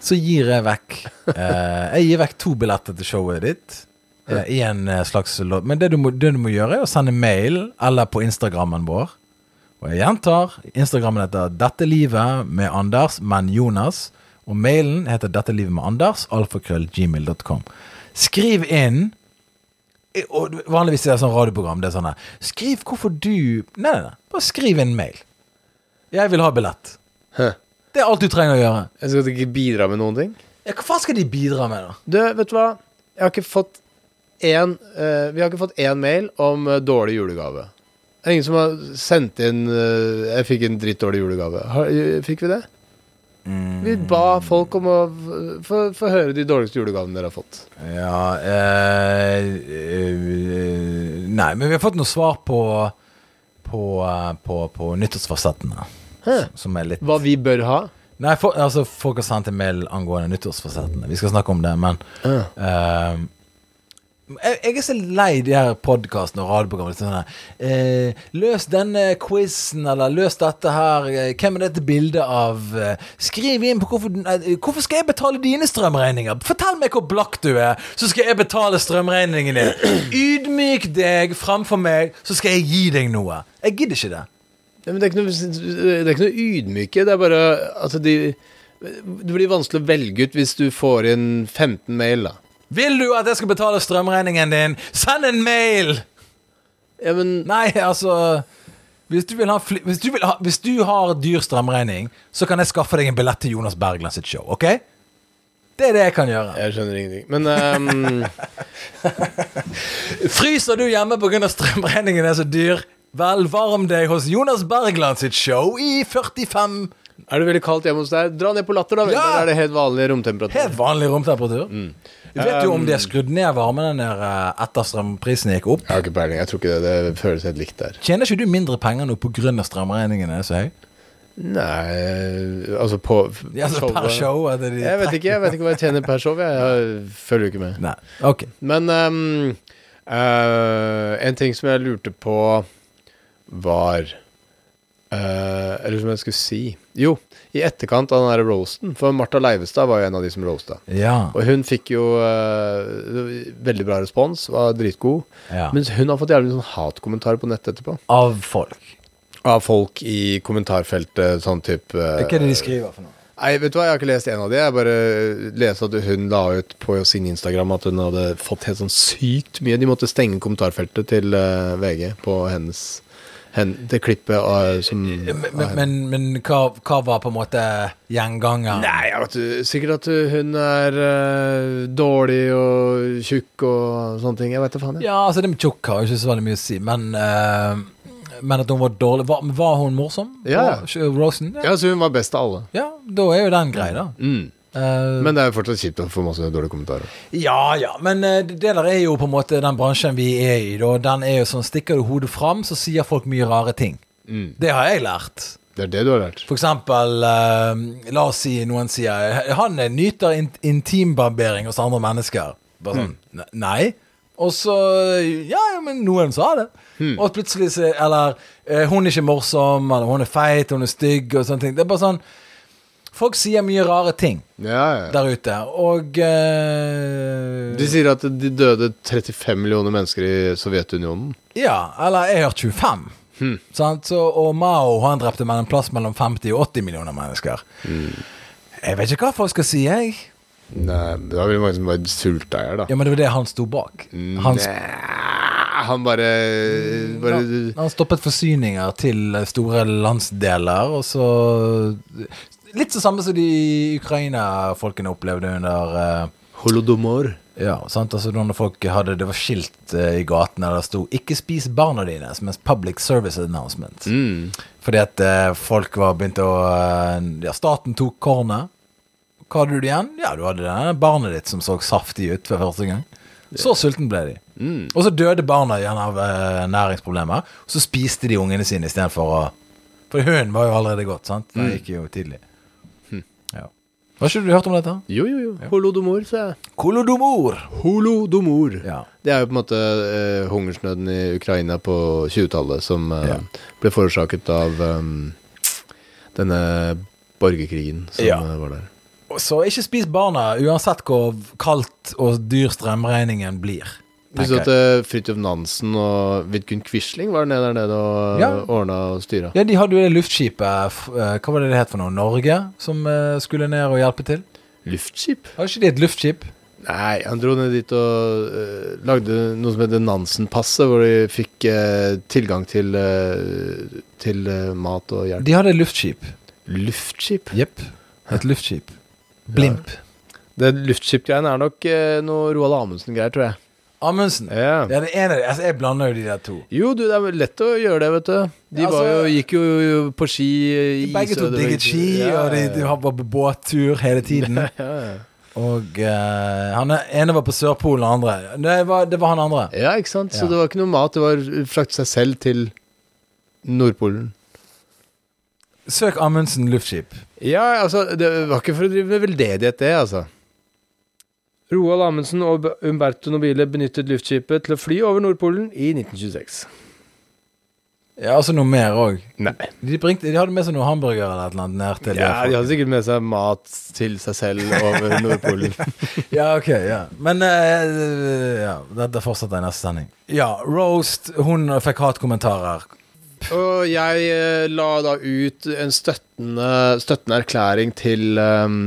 så gir jeg vekk eh, Jeg gir vekk to billetter til showet ditt. eh, I en eh, slags lodd. Men det du, må, det du må gjøre, er å sende mail eller på Instagrammen vår. Og jeg gjentar. Instagrammen heter 'Dette livet med Anders, men Jonas'. Og mailen heter 'Dette livet med Anders', alfakrøllgmail.com. Skriv inn eh, og du- Vanligvis er det sånn radioprogram. Det er sånn her Skriv hvorfor du Nei, nei, nei. Bare skriv inn mail. Jeg vil ha billett.
Hæ.
Det er alt du trenger å gjøre.
Jeg skal ikke bidra med noen ting?
Ja, hva faen skal de bidra med, da?
Du, vet du hva? Jeg har ikke fått én eh, Vi har ikke fått én mail om eh, dårlig julegave. Det er ingen som har sendt inn eh, 'Jeg fikk en drittdårlig julegave'. Har, eh, fikk vi det? Vi ba folk om å f- få få høre de dårligste julegavene dere har fått.
Ja eh, eh, Nei, men vi har fått noe svar på På, eh, på, på nyttårsfasettene.
Hæ?
Som er litt
Hva vi bør ha.
Nei, for, altså, folk har sendt en mail angående nyttårsfasettene. Vi skal snakke om det, men eh, jeg, jeg er så lei de her podkastene og radioprogrammene. Sånn her, eh, løs denne quizen, eller løs dette her. eh, Hvem er dette bildet av? eh, skriv inn på hvorfor eh, Hvorfor skal jeg betale dine strømregninger? Fortell meg hvor blakk du er, så skal jeg betale strømregningen din. Ydmyk deg framfor meg, så skal jeg gi deg noe. Jeg gidder ikke det.
Ja, men det, er ikke noe, det er ikke noe ydmyke. Det er bare Altså, de Det blir vanskelig å velge ut hvis du får inn 15 mail, da.
Vil du at jeg skal betale strømregningen din? Send en mail!
Ja, men
Nei, altså Hvis du, vil ha fli hvis du, vil ha, hvis du har dyr strømregning, så kan jeg skaffe deg en billett til Jonas Bergland sitt show, OK? Det er det jeg kan gjøre.
Jeg skjønner ingenting. Men ehm,
Fryser du hjemme pga. strømregningen er så dyr? Vel, varm deg hos Jonas Bergland sitt show i 45
Er det veldig kaldt hjemme hos deg? Dra ned på latter, da. vel.
Ja!
Der er det helt vanlig romtemperatur.
Helt vanlig romtemperatur.
Mm.
Vet
Um,
du om de har skrudd ned varmen der eh, etter strømprisen gikk opp?
Jeg har ikke peiling. Jeg tror ikke det. Det føles helt likt der.
Tjener ikke du mindre penger nå pga. strømregningen er så høy?
Nei Altså på
Ja, altså per show? At de
eh. Jeg vet ikke jeg vet ikke hva jeg tjener per show. Jeg, jeg følger jo ikke med.
Nei, ok.
Men ehm, eh, en ting som jeg lurte på, var eh, Eller som jeg skulle si Jo, i etterkant av den der roasten, for Martha Leivestad var jo en av de som roasta.
Ja.
Og hun fikk jo eh, veldig bra respons, var dritgod.
ja.
Mens hun har fått jævlig mye sånn hatkommentarer på nettet etterpå.
Av folk.
Av folk i kommentarfeltet, sånn type eh,
Hva er det de skriver for noe?
Nei, vet du hva, jeg har ikke lest en av de. Jeg bare leste at hun la ut på sin Instagram at hun hadde fått helt sånn sykt mye. De måtte stenge kommentarfeltet til eh, VG på hennes hen, Det klippet av, som
Eh, Men, men, men, men hva, hva var på en måte gjengangeren?
Nei, jeg vet du, sikkert at hun er eh, dårlig og tjukk og sånne ting. Jeg vet da faen. jeg.
Ja, altså det med tjukk har jo ikke så veldig mye å si, men eh, Men at hun var dårlig Var, var hun morsom?
Ja.
Var- Rosen? Ja.
Ja, så hun var best av alle.
ja, da er jo den grei, da.
Mm.
Eh,
Men det er jo fortsatt kjipt å få masse dårlige kommentarer.
ja ja, men eh, det der er jo på en måte den bransjen vi er Mm. i. Da. Den er jo sånn Stikker du hodet fram, så sier folk mye rare ting. Det har jeg lært.
Det er det du har lært.
For eksempel, eh, la oss si noen sier Han nyter in intimbarbering hos andre mennesker. Bare sånn "Ne- Nei. Og så Ja, ja, men noen sa det. Og plutselig så Eller eh, hun er ikke morsom, eller hun er feit, hun er stygg, og sånne ting. Det er bare sånn Folk sier mye rare ting
Ja, ja.
der ute, og eh,
De sier at de døde 35 millioner mennesker i Sovjetunionen.
Ja, eller jeg har 25. Sant? Så, og Mao han drepte mellom plass mellom 50 og 80 millioner mennesker. Jeg vet ikke hva folk skal si, jeg.
Nei, det var veldig mange som var sulteier, da.
Ja, men det var det han sto bak. Han, sp-
Nei, han bare, bare
han- han stoppet forsyninger til store landsdeler, og så Litt det samme som de Ukraina-folkene opplevde under eh,
Holodomor.
Ja, sant? Altså når folk hadde Det var skilt eh, i gatene der det sto 'Ikke spis barna dine' som en public service announcement.
Mm.
Fordi at eh, folk var begynt å eh, Ja, staten tok kornet. Hva hadde du igjen? Ja, du hadde det barnet ditt som så saftig ut for første gang. Så sulten ble de. Og så døde barna igjen av eh, næringsproblemer. Og så spiste de ungene sine istedenfor å For hunden var jo allerede gått, sant? Den gikk jo tidlig. Ja. Har ikke du hørt om dette?
Jo, jo, jo. Holodomor, sa jeg.
Kolodomor!
Holodomor.
Ja.
Det er jo på en måte eh, hungersnøden i Ukraina på 20-tallet som eh,
Ja.
ble forårsaket av eh, denne borgerkrigen som
Ja.
eh, var der.
Så ikke spis barna, uansett hvor kaldt og dyr strømregningen blir.
Du så at eh, Fridtjof Nansen og Vidkun Quisling var nede der nede og
Ja.
ordna og styra.
Ja, De hadde jo det luftskipet f- eh, Hva var det det het for noe? Norge? Som eh, skulle ned og hjelpe til?
Luftskip?
Har ikke de et luftskip?
Nei, han dro ned dit og eh, lagde noe som heter Nansen-passet, hvor de fikk eh, tilgang til, eh, til eh, mat og hjelp.
De hadde et luftskip.
Luftskip?
Jepp. Et luftskip. Blimp.
Det luftskip-greiene er nok eh, noe Roald Amundsen-greier, tror jeg.
Amundsen.
Ja.
Ja, det ene altså, Jeg blander jo de der to.
Jo, du, det er vel lett å gjøre det, vet du. De
Ja,
var
altså-
jo, gikk jo på ski eh, i
Begge to
isødemarken.
digget ski,
Ja,
og de, de
ja,
var på båttur hele tiden.
ja.
Og eh, han ene var på Sørpolen, og andre Det var, det var han andre.
ja, ikke sant? Så
Ja.
det var ikke noe mat. Det var frakte seg selv til Nordpolen.
Søk Amundsen luftskip.
Ja, altså, det var ikke for å drive med veldedighet, det, altså. Roald Amundsen og B- Umberto Nobile benyttet luftskipet til å fly over Nordpolen i 1926.
Ja, altså noe mer òg.
Nei.
De, bringte, de hadde med seg noen hamburgere eller et eller annet ned til
Ja,
det
de
folk.
hadde sikkert med seg mat til seg selv over Nordpolen.
ja, ok, ja. Men eh, ja, dette fortsetter i neste sending. Ja, Roast, hun fikk hatkommentarer.
[LAUGHS] og jeg eh, la da ut en støttende, støttende erklæring til, ehm,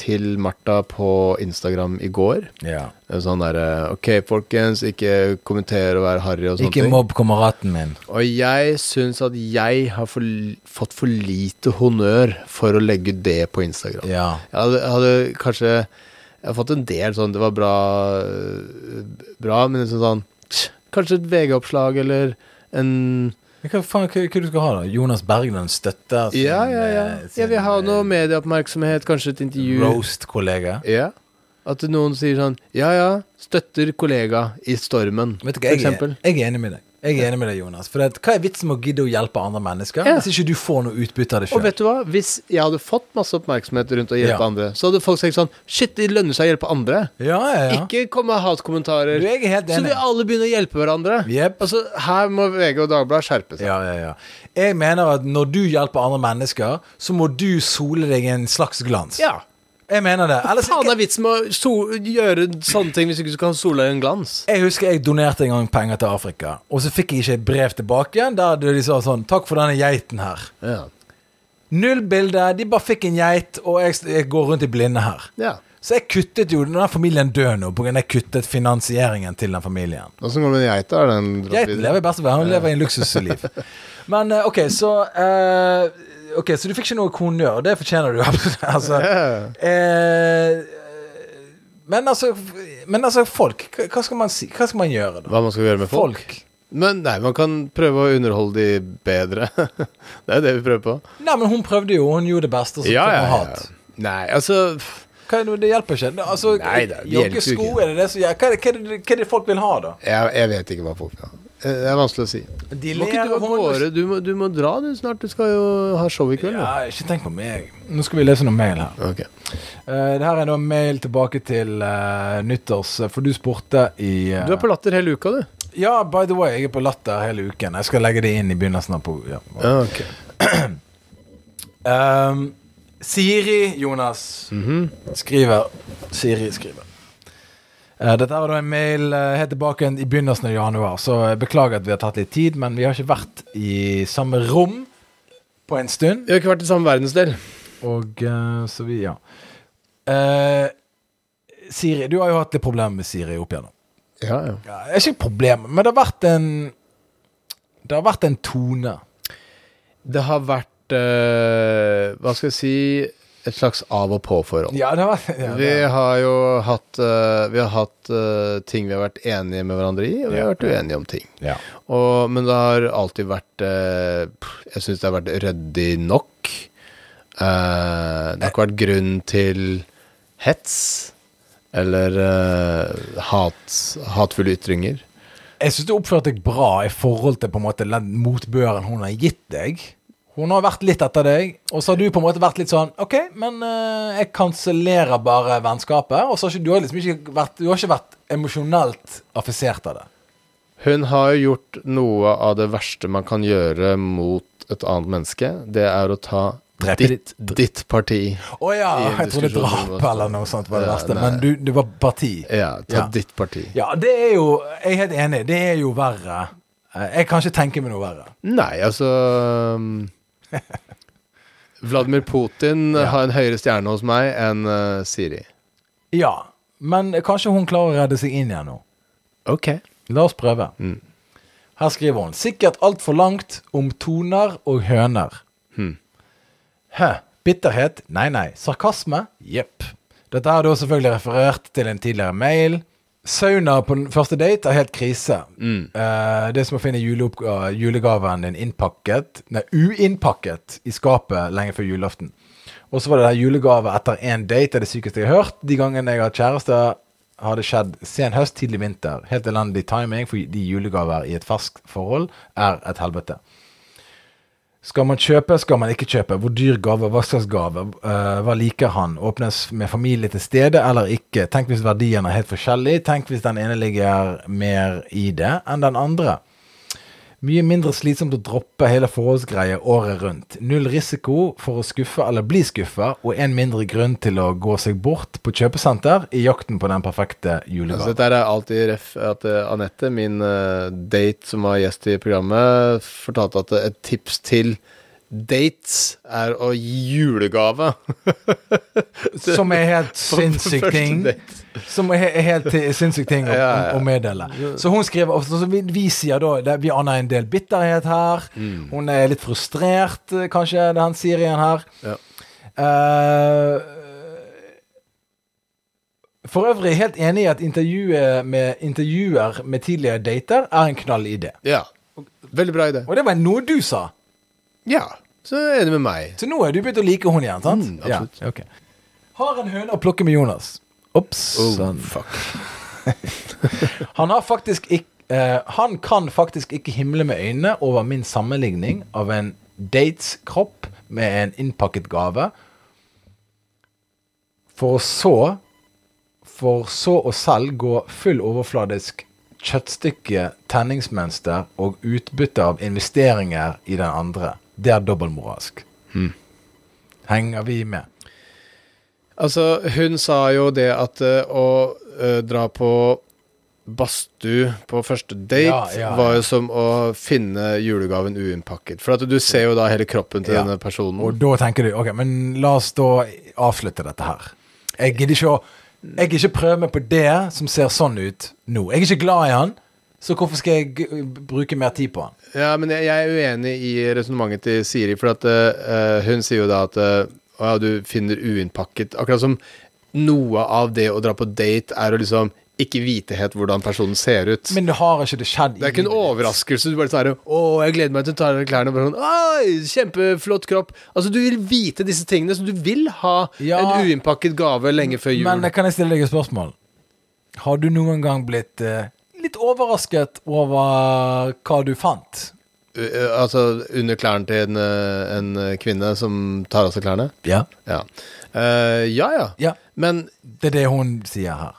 til Martha på Instagram i går.
Ja.
En Sånn derre OK, folkens, ikke kommenter og være harry og sånne
Ikke
ting.
mobb kameraten min.
Og jeg syns at jeg har for, fått for lite honnør for å legge ut det på Instagram.
Ja.
Jeg hadde, jeg hadde kanskje Jeg har fått en del sånn Det var bra, øh, bra men liksom sånn tsk, Kanskje et VG-oppslag eller en
Men Hva faen hva, hva du skal ha, da? Jonas Bergland støtter sin,
Ja, ja, ja.
eh, sin,
Jeg vil ha noe
eh,
medieoppmerksomhet, kanskje et intervju.
Roast-kollega.
Ja. At noen sier sånn Ja, ja, støtter kollega i stormen,
Vet du
for
hva, jeg,
eksempel.
er- jeg er enig med deg. Jeg er enig med deg, Jonas. For det, Hva er vitsen med å gidde å hjelpe andre mennesker
Ja.
hvis ikke du får noe utbytte av det
Og
sjøl?
vet du hva? Hvis jeg hadde fått masse oppmerksomhet rundt å hjelpe
Ja.
andre, så hadde folk sagt sånn Shit, det lønner seg å hjelpe andre.
Ja, ja, ja.
Ikke komme med hatkommentarer.
Du, jeg er helt
Så
enig.
vil alle begynne å hjelpe hverandre.
Jep.
Altså, her må VG og Dagbladet skjerpe seg.
Ja, ja, ja. Jeg mener at når du hjelper andre mennesker, så må du sole deg i en slags glans.
Ja.
Jeg mener det. Ellers
Faen er vitsen med å so gjøre sånne ting hvis ikke du kan sola i en glans?
Jeg husker jeg donerte en gang penger til Afrika, og så fikk jeg ikke et brev tilbake igjen der de sa sånn 'Takk for denne geiten her'.
Ja.
Null bilde. De bare fikk en geit, og jeg, jeg går rundt i blinde her.
ja.
Så jeg kuttet jo den der familien død nå, pga. jeg kuttet finansieringen til den familien.
Åssen går det med geita? Er den dratt
Geiten
videre?
lever i beste velgående. Hun lever i en luksusliv. Men eh, OK, så eh, Ok, så du fikk ikke noe honnør, og det fortjener du. [LAUGHS] absolutt. altså, eh, men altså Men altså, folk. Hva hva skal man si? Hva skal man gjøre, da?
Hva man skal gjøre med folk? Men nei, man kan prøve å underholde de bedre. [LAUGHS] det er det vi prøver på.
Nei, men hun prøvde jo, og hun gjorde det beste. og Så fikk hun hat.
Nei, altså pff,
Hva er det, det hjelper ikke. Nå, Altså,
Nei da, det hjelper jo
Joggesko,
ikke.
er det det som gjør hva, er det- hva er det- hva er det folk vil ha, da?
jeg, jeg vet ikke hva folk vil ha. eh, det er vanskelig å si.
De
Må ikke du av gårde? Du må, du må dra du snart. Du skal jo ha show i kveld.
Ja, ikke tenk på meg. Nå skal vi lese noe mail her.
du. Ok.
Eh, det her er da mail tilbake til eh, nyttårs... For du spurte i eh,
Du er på latter hele uka, du.
Ja, by the way, jeg er på Latter hele uken. Jeg skal legge det inn i begynnelsen av på... Ja.
Ja, ok.
Ehm, Siri Jonas skriver Siri skriver. Eh, dette er da en mail eh, helt tilbake i begynnelsen av januar, så jeg beklager at vi har tatt litt tid, men vi har ikke vært i samme rom på en stund.
Vi har ikke vært i samme verdensdel.
Og eh, så vi, ja. Eh, Siri, du har jo hatt litt problemer med Siri opp igjennom.
Ja, ja.
Ja, det er ikke problemer, men det har vært en Det har vært en tone.
Det har vært eh, Hva skal jeg si Et slags av-og-på-forhold.
Ja, det har vært ja,
Vi
det-
har jo hatt, eh, vi har hatt eh, ting vi har vært enige med hverandre i, og vi har vært uenige om ting.
ja.
Og, men det har alltid vært eh, pff, Jeg syns det har vært ryddig nok. Eh, det har ikke vært grunn til hets eller eh, hat, hatefulle ytringer.
Jeg syns du oppførte deg bra i forhold til på en måte den motbøren hun har gitt deg. Hun har vært litt etter deg, og så har du på en måte vært litt sånn OK, men eh, jeg kansellerer bare vennskapet. Og så har ikke, du har liksom ikke vært, du har ikke vært emosjonelt affisert av det.
Hun har jo gjort noe av det verste man kan gjøre mot et annet menneske. Det er å ta
Drepe
ditt, ditt parti.
Å ja,
I en
jeg trodde
diskusjon om
drap
hva-
eller noe sånt var det
Ja,
verste,
nei.
men du, det var parti.
Ja, ta
Ja.
ditt parti.
Ja, det er jo Jeg er helt enig, det er jo verre. Eh, Jeg kan ikke tenke meg noe verre.
Nei, altså [LAUGHS] um, Vladimir Putin har en høyere stjerne hos meg enn eh, Siri.
Ja, men kanskje hun klarer å redde seg inn igjen nå.
Ok.
La oss prøve. Her skriver hun sikkert altfor langt om toner og høner. Hæ? Bitterhet? Nei, nei. Sarkasme? Jepp. Dette er da selvfølgelig referert til en tidligere mail. Sauna på den første date er helt krise. Eh, det er som å finne juleopp- eh, julegaven din innpakket Nei, uinnpakket i skapet lenge før julaften. Og så var det der julegave etter én date er det sykeste jeg har hørt. De gangene jeg har hatt kjæreste, har det skjedd sen høst, tidlig vinter. Helt elendig timing, fordi julegaver i et ferskt forhold er et helvete. Skal man kjøpe, skal man ikke kjøpe? Hvor dyr gave, hva slags gave? Eh, hva liker han? Åpnes med familie til stede eller ikke? Tenk hvis verdien er helt forskjellig? Tenk hvis den ene ligger mer i det enn den andre? Mye mindre slitsomt å droppe hele forholdsgreia året rundt. Null risiko for å skuffe eller bli skuffa, og en mindre grunn til å gå seg bort på kjøpesenter i jakten på den perfekte
Altså,
julegaven.
dette er alltid ref at eh, Anette, min eh, date som var gjest i programmet, fortalte at eh, et tips til dates er å gi julegave.
Som er helt
[LAUGHS] På- på
sinnssyk
første
ting.
date.
Som er he- helt til- sinnssyk ting å,
Ja, ja.
å meddele. Så hun skriver og så- så vi, vi sier da det, Vi aner en del bitterhet her.
Mm.
Hun er litt frustrert, eh, kanskje, det han sier igjen her.
Ja.
Eh, for øvrig helt enig i at intervjuet med, intervjuer med tidligere dater er en knall idé.
[LAUGHS] Ja. Veldig bra idé.
Og det var noe du sa.
Ja. Så er du enig med meg.
Så nå har du begynt å like hun igjen, sant?
Mm, absolutt.
Ja, ok. Har en høne å plukke med Jonas. Ops.
Oh, Sånn.
sann. han har faktisk ikke eh, Han kan faktisk ikke himle med øynene over min sammenligning av en dates kropp med en innpakket gave, for så For så å selv gå full overfladisk kjøttstykke, tenningsmønster og utbytte av investeringer i den andre. Det er dobbeltmoralsk. Henger vi med?
Altså, hun sa jo det at eh, å eh, dra på badstue på første date
Ja, ja, ja.
var jo som å finne julegaven uinnpakket. For at du ser jo da hele kroppen til
Ja.
denne personen.
Og da tenker du, ok, men la oss da avslutte dette her. Jeg gidder ikke å jeg gidder ikke prøve meg på det som ser sånn ut nå. Jeg er ikke glad i han, så hvorfor skal jeg g- bruke mer tid på han?
Ja, men jeg, jeg er uenig i resonnementet til Siri, for at, eh, eh, hun sier jo da at eh, å ja, du finner uinnpakket Akkurat som noe av det å dra på date er å liksom ikke vite helt hvordan personen ser ut.
Men det har ikke det skjedd.
det er ikke en overraskelse. Du bare tar det, 'Å, jeg gleder meg til å ta av deg klærne.' Og bare sånn, Oi, kjempeflott kropp. Altså, du vil vite disse tingene, så du vil ha
Ja.
en uinnpakket gave lenge før jul.
Men kan jeg stille deg et spørsmål? Har du noen gang blitt eh, litt overrasket over hva du fant.
U- eh, Altså under klærne til en, eh, en eh, kvinne som tar av seg klærne?
Ja.
Ja. Eh, ja ja.
Ja.
Men
Det er det hun sier her.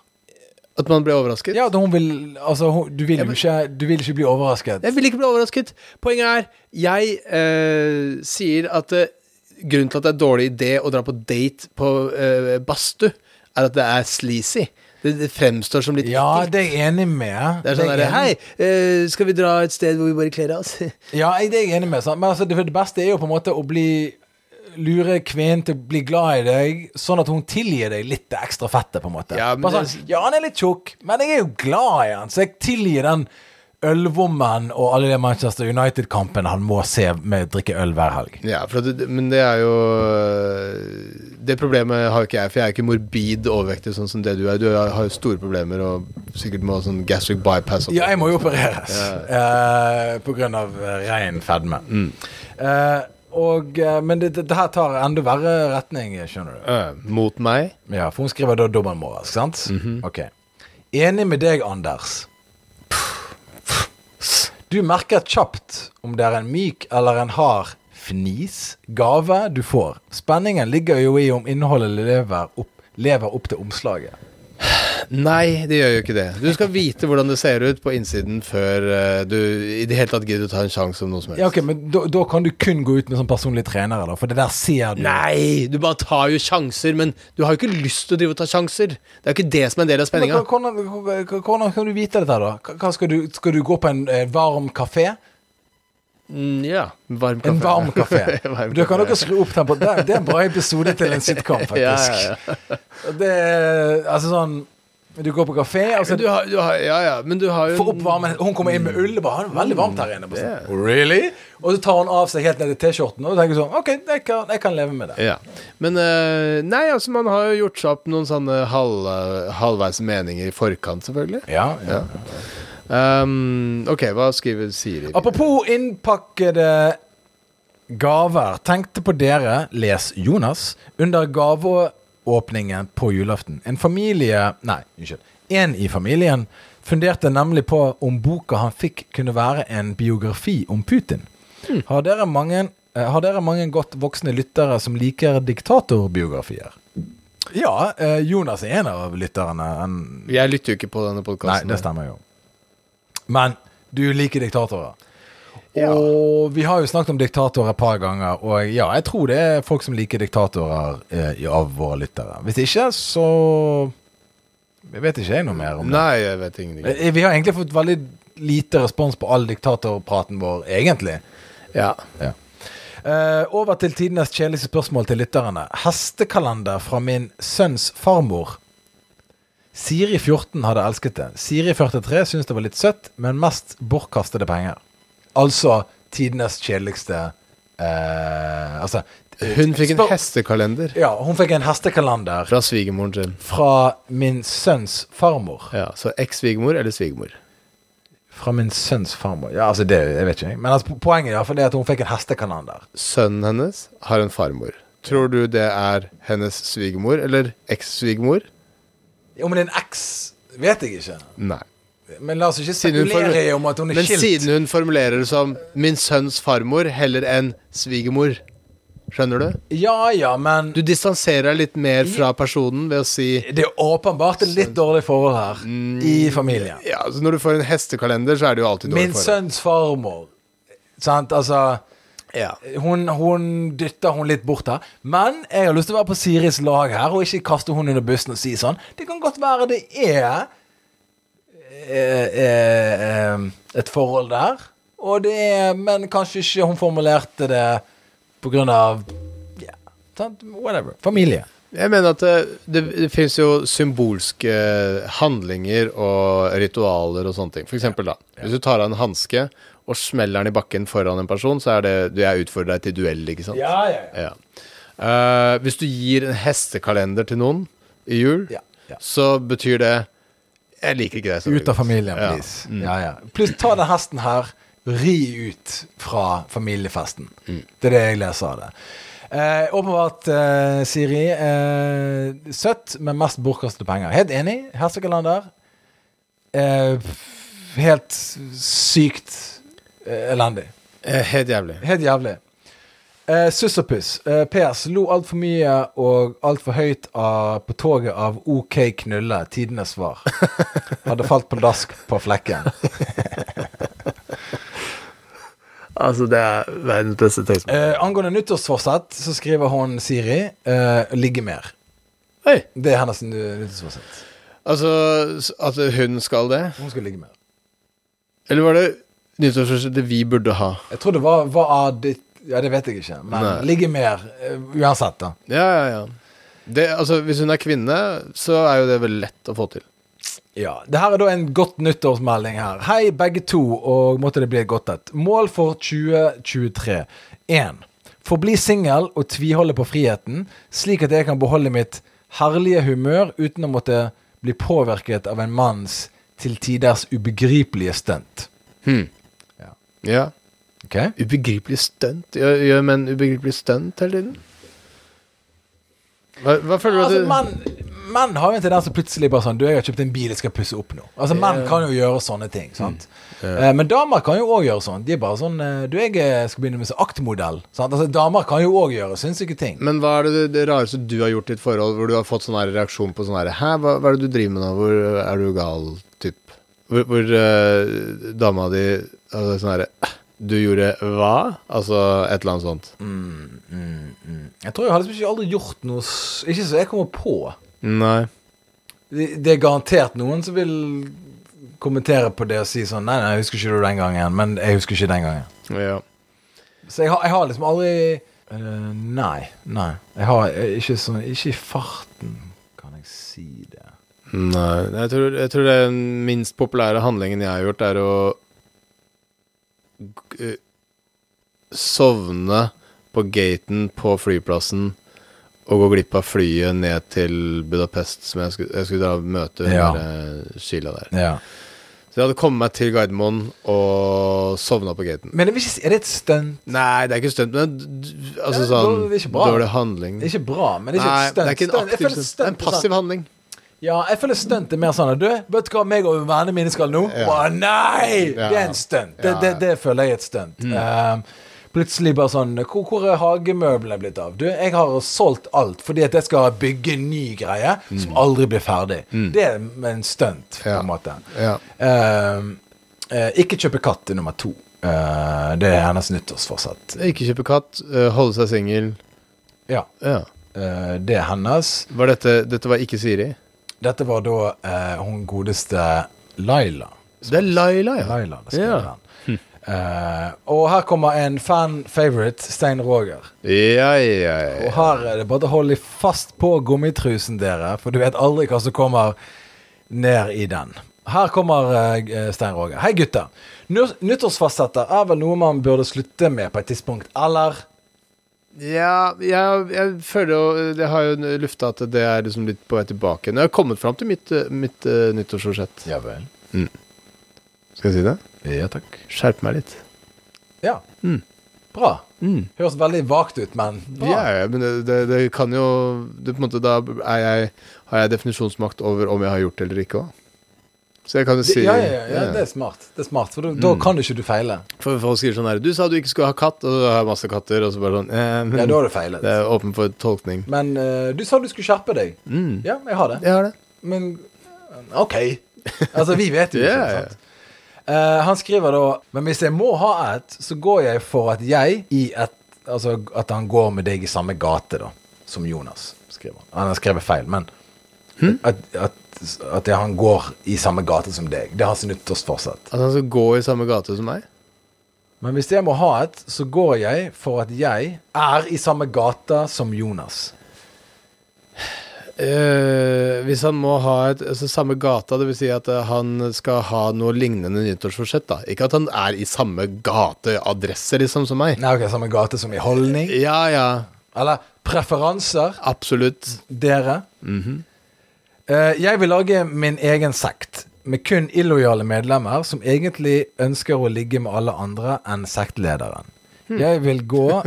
at man ble overrasket
Ja, da hun vil Altså, hun, du, vil jo ikke, du vil ikke bli overrasket.
Jeg vil ikke bli overrasket. Poenget er, jeg eh, sier at eh, grunnen til at det er dårlig idé å dra på date på eh, badstue, er at det er sleazy. Det, det fremstår som litt
Ja,
ekkelt.
det er jeg enig med.
Det er sånn
jeg
derre Hei,
enig-
eh, skal vi dra et sted hvor vi bare kler av oss? [LAUGHS]
Ja, jeg, det er jeg enig med. Sant? Men altså, det, det beste er jo på en måte å bli Lure kvinnen til å bli glad i deg, sånn at hun tilgir deg litt det ekstra fettet. på en måte
Ja, men
Bare
det-
sånn, ja, han er litt tjukk, men jeg er jo glad i han, så jeg tilgir den ølvommen og alle de Manchester United-kampene han må se med å drikke øl hver helg.
Ja, for det, men det er jo øh, Det problemet har jo ikke jeg, for jeg er ikke morbid overvektig sånn som det du er. Du har har jo store problemer og sikkert må ha sånn gastric bypass. opp.
Ja, jeg må jo opereres eh, på grunn av eh, ren fedme.
Mm.
Eh, og, eh, men det, det, det her tar enda verre retning, skjønner du.
Øh, Mot meg?
Ja, For hun skriver da dobbeltmoralsk, sant? Ok. Enig med deg, Anders. Du merker kjapt om det er en myk eller en hard fnis, gave, du får. Spenningen ligger jo i om innholdet lever opp, lever opp til omslaget.
Nei, det gjør jo ikke det. Du skal vite hvordan det ser ut på innsiden før øh, du i det hele tatt gidder å ta en sjanse om noe som helst.
Ja, ok, men da, da kan du kun gå ut med sånn personlig trenere, da, for det der ser du.
Nei, du bare tar jo sjanser, men du har jo ikke lyst til å drive og ta sjanser. Det er jo ikke det som er en del av
Men
spenninga.
Hvordan, hvordan- hvordan kan du vite dette, da? Hva- Hva skal, du, skal du gå på en eh, varm kafé?
Mm, ja. Varm
[LAUGHS]
kaffe.
En varm kafé.
[LAUGHS] Varm
Da kan
kaffe.
dere skru opp tempoet. Det, det er en bra episode til en [LAUGHS] sitcom, faktisk.
Ja, ja,
Det er altså sånn Du går på kafé, og så
Men du har, du har, ja, ja, men du har jo
får opp varmen. Hun kommer inn med ull. og Bare, «Ha det veldig varmt her inne. Bare sånn, Really? Og så tar hun av seg helt ned i T-skjorten og tenker sånn OK, jeg kan, jeg kan leve med det.
Ja. Men eh, Nei, altså, man har jo gjort seg opp noen sånne halv, eh, halvveis meninger i forkant, selvfølgelig.
Ja, ja.
Ehm, ok, hva skriver Siri?
Apropos innpakkede gaver. Tenkte på dere, les Jonas, under gaveåpningen på julaften. En familie Nei, unnskyld. En i familien funderte nemlig på om boka han fikk, kunne være en biografi om Putin. Har, dere mange, eh, har dere mange godt voksne lyttere som liker diktatorbiografier? Ja, eh, Jonas er en av lytterne. En,
Jeg lytter jo ikke på denne
nei,
podkasten.
det stemmer jo. Men du liker diktatorer.
Ja.
Og vi har jo snakket om diktatorer et par ganger, og ja, jeg tror det er folk som liker diktatorer eh, i- av våre lyttere. Hvis ikke, så Jeg vet ikke jeg noe mer om det.
Nei, jeg vet ingenting.
Eh, Vi har egentlig fått veldig lite respons på all diktatorpraten vår, egentlig.
Ja.
Eh, over til tidenes kjedeligste spørsmål til lytterne. Hestekalender fra min sønns farmor. Siri 14 hadde elsket det. Siri 43 syntes det var litt søtt, men mest bortkastede penger. Altså tidenes kjedeligste eh, Altså
Hun fikk en
spør-
hestekalender
Ja, hun fikk en hestekalender
fra svigermoren sin.
fra min sønns farmor.
Ja, så eks-svigermor eller svigermor.
Fra min sønns farmor. Ja, altså, det jeg vet ikke jeg. Men altså, po- poenget er i hvert fall det at hun fikk en hestekalender.
Sønnen hennes har en farmor. Tror du det er hennes svigermor eller eks-svigermor?
Om det er en eks, vet jeg ikke.
Nei.
Men la oss ikke
Siden hun
spekulere
formu-
i om at hun er
Men
skilt.
siden hun formulerer det som 'min sønns farmor' heller enn 'svigermor'. Skjønner du?
Ja ja, men
Du distanserer deg litt mer fra personen ved å si
det er åpenbart et litt dårlig forhold her i familien.
Mm. ja, altså Når du får en hestekalender, så er det jo alltid dårlig
Min
forhold.
sønns farmor. Sant, altså
Ja.
hun, hun dytter hun litt bort her. Men jeg har lyst til å være på Siris lag her og ikke kaste hun under bussen og si sånn. Det kan godt være det er eh, eh, eh, et forhold der, og det er, men kanskje ikke hun formulerte det på grunn av ja, sant, whatever. Familie.
Jeg mener at eh, det, det fins jo symbolske eh, handlinger og ritualer og sånne ting. For eksempel, da. Hvis du tar av en hanske og smeller den i bakken foran en person, så er det du jeg utfordrer deg til duell, ikke sant?
Ja, ja, ja.
Ja. Eh, hvis du gir en hestekalender til noen i jul,
Ja, ja.
så betyr det Jeg liker ikke deg så
Ut av familien,
Ja.
please. Ja, Mm. ja. Pluss ta den hesten her, ri ut fra familiefesten. Det er det jeg leser av det. Eh, åpenbart, eh, Siri. Eh, søtt, men mest bortkastede penger. Helt enig. Hestekalender. Eh, f- helt sykt eh, elendig.
Eh, Helt jævlig.
Helt jævlig. Eh, Suss og puss. Eh, PS lo altfor mye og altfor høyt av, på toget av OK knulle, tidenes svar. Hadde falt pladask på flekken.
Altså, det er verdens beste tekst.
Eh, angående nyttårsforsett så skriver hun Siri eh, 'ligge mer'.
Hei.
Det er hennes ny- nyttårsforsett.
Altså, s- at hun skal det?
Hun skal ligge mer.
Eller var det nyttårsforsettet vi burde ha?
Jeg tror det var hva av ditt Ja, det vet jeg ikke, men
Nei.
ligge mer eh, uansett, da.
Ja, ja, ja. Det, altså, hvis hun er kvinne, så er jo det veldig lett å få til.
Ja, Det her er da en godt nyttårsmelding her. Hei, begge to, og måtte det bli et godt et. Mål for 2023. 1. Forbli singel og tviholde på friheten, slik at jeg kan beholde mitt herlige humør uten å måtte bli påvirket av en manns til tiders ubegripelige stunt.
Ja.
Ok?
Ubegripelig stunt? Gjør, gjør menn ubegripelig stunt hele tiden? Hva, hva føler du at
Altså,
du
menn, menn har jo en tendens til plutselig bare sånn Du, jeg har kjøpt en bil, jeg skal pusse opp nå. Altså, Menn kan jo gjøre sånne ting.
Mm.
sant? Eh, Men damer kan jo òg gjøre sånn. De er bare sånn eh, Du, jeg eh, skal begynne med sånn aktmodell. sant? Altså, Damer kan jo òg gjøre sinnssyke ting.
Men hva er det, det rareste du har gjort i et forhold hvor du har fått sånn her reaksjon på sånn her Hæ, hva, hva er det du driver med nå? Hvor øh, er du gal? Typ. Hvor, hvor øh, dama di hadde sånn her «Æ, Du gjorde hva? Altså et eller annet sånt. Mm,
Jeg tror jeg har liksom ikke aldri gjort noe s- Ikke så jeg kommer på.
Nei.
Det det er garantert noen som vil kommentere på det og si sånn Nei, nei, jeg husker ikke du den gangen, men jeg husker ikke den gangen.
Ja.
Så jeg har, jeg har liksom aldri eh, Nei. Nei. Jeg har eh, ikke sånn Ikke i farten, kan jeg si det.
Nei, jeg tror, jeg tror den minst populære handlingen jeg har gjort, er å g- eh, sovne på gaten på flyplassen og gå glipp av flyet ned til Budapest, som jeg skulle, jeg skulle dra og møte hun
Ja.
der, eh, Sheila der.
Ja.
Så jeg hadde kommet meg til Gardermoen og sovna på gaten.
Men jeg vil ikke si, er det et stunt?
Nei, det er ikke stunt, men d- d- altså
Ja,
sånn
det er ikke bra.
dårlig handling.
Det er ikke bra, men det er ikke
Nei,
et stunt.
det er ikke en
Stunt- jeg
aktiv
føler
stunt. Det er en
stunt er sånn-
passiv handling.
Ja, jeg føler stunt er mer sånn at du, vet du hva meg og vennene mine skal nå?
Ja.
Å nei!
Ja.
Det er en stunt. Det,
Ja.
det, det føler jeg er et stunt. Ehm, plutselig bare sånn Hvor, hvor er hagemøblene blitt av? Du, jeg har solgt alt fordi at jeg skal bygge en ny greie som aldri blir ferdig. Det er en stunt, på
Ja.
en måte.
Ja.
Ehm, eh, ikke kjøpe katt er nummer to. Eh, det er hennes nyttårsforsett.
Ikke kjøpe katt, eh, holde seg singel.
Ja.
Ja.
Eh, det er hennes.
Var dette, dette var ikke Siri?
Dette var da eh, hun godeste Laila.
Det er Laila, ja.
Laila det skal
Ja.
være den. Eh, og her kommer en fan favorite, Stein Roger.
Ja, ja, ja.
Og her er det bare å holde fast på gummitrusen, dere, for du vet aldri hva som kommer ned i den. Her kommer eh, Stein Roger. Hei, gutter. Nå- Nyttårsfastsetter er vel noe man burde slutte med på et tidspunkt, eller?
ja jeg, jeg føler jo Jeg har jo lufta at det er liksom litt på vei tilbake. Nå har jeg kommet fram til mitt, eh, mitt eh, nyttårsforsett.
Ja vel.
Skal jeg si det?
Ja takk.
Skjerp meg litt.
Ja. Bra. Høres veldig vagt ut, men bra.
Mm. Ja, ja, men det, det, det kan jo det, på en måte, Da er jeg, har jeg definisjonsmakt over om jeg har gjort det eller ikke òg. Så jeg kan jo si Mm.
ja, ja, ja, ja, det er smart. Det er smart for da, da kan du ikke du feile.
For Folk skriver sånn her Du sa du ikke skulle ha katt, og så har jeg masse katter, og så bare sånn eh, men,
Ja, da har du feilet.
Det er åpen for tolkning.
Men eh, du sa du skulle skjerpe deg.
Mm.
Ja, jeg har det.
Jeg har det.
Men eh, OK. Altså, vi vet jo ikke.
Ja, ja.
sant? Eh, han skriver da Men hvis jeg må ha et, så går jeg for at jeg i et Altså at han går med deg i samme gate, da, som Jonas, skriver han. Han har skrevet feil, men
Hm?
at, at, at det- han går i samme gate som deg. Det er hans nyttårsforsett.
At han skal gå i samme gate som meg?
Men hvis jeg må ha et, så går jeg for at jeg er i samme gata som Jonas.
Eh, hvis han må ha et altså, samme gata, dvs. Si at eh, han skal ha noe lignende nyttårsforsett, da. Ikke at han er i samme gateadresse, liksom, som meg.
Nei, ok, samme gate som i holdning.
Ja, ja.
Eller preferanser,
Absolutt.
dere. Eh, jeg vil lage min egen sekt, med kun illojale medlemmer som egentlig ønsker å ligge med alle andre enn sektlederen. Jeg vil gå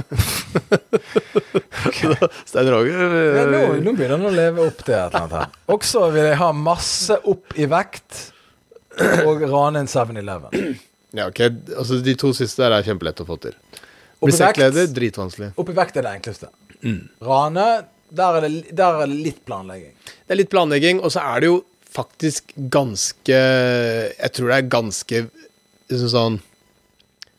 Stein Roger
ja,
eh,
nå, nå begynner han å leve opp til et eller annet her. Også vil jeg ha masse opp i vekt. og rane en 7-Eleven.
Ja, ok. Altså, de to siste der er kjempelett å få til.
Og på vekt-
Musikkleder, dritvanskelig.
Oppi vekt er det enkleste. Rane, der er, det, der er det litt planlegging.
Det er litt planlegging, og så er det jo faktisk ganske Jeg tror det er ganske liksom sånn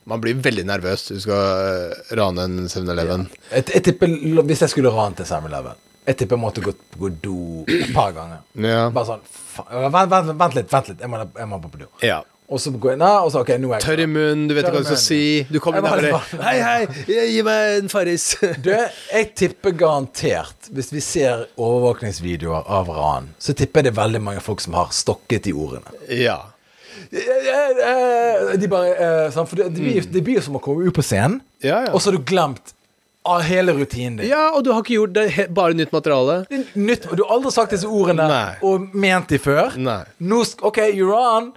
Man blir veldig nervøs hvis du skal eh, rane en 7-Eleven.
Jeg, jeg tipper, Hvis jeg skulle rant en 7-Eleven Jeg tipper jeg måtte gå gå do et par ganger.
Ja.
Bare sånn fa- vent, vent, vent litt, vent litt. Jeg må, jeg må på do.
ja.
Og så går jeg ned, og så OK, nå er jeg
Tørr i munnen, du vet
Tørr i
ikke hva du skal si.
munnen.
Du kommer inn
Jeg
der
bare-
og bare Hei, hei, gi meg en Farris.
Du, jeg tipper garantert, hvis vi ser overvåkningsvideoer av ran, så tipper jeg det er veldig mange folk som har stokket i ordene.
ja.
Eh, eh, De bare eh, sånn, For det, det, blir, det blir jo som å komme ut på scenen,
Mm. Ja, ja.
og så har du glemt ah, hele rutinen din.
ja, og du har ikke gjort det, he- bare nytt materiale.
Det er nytt, og du har aldri sagt disse ordene
Nei.
og ment de før.
Nei.
Nå sk OK, you're on.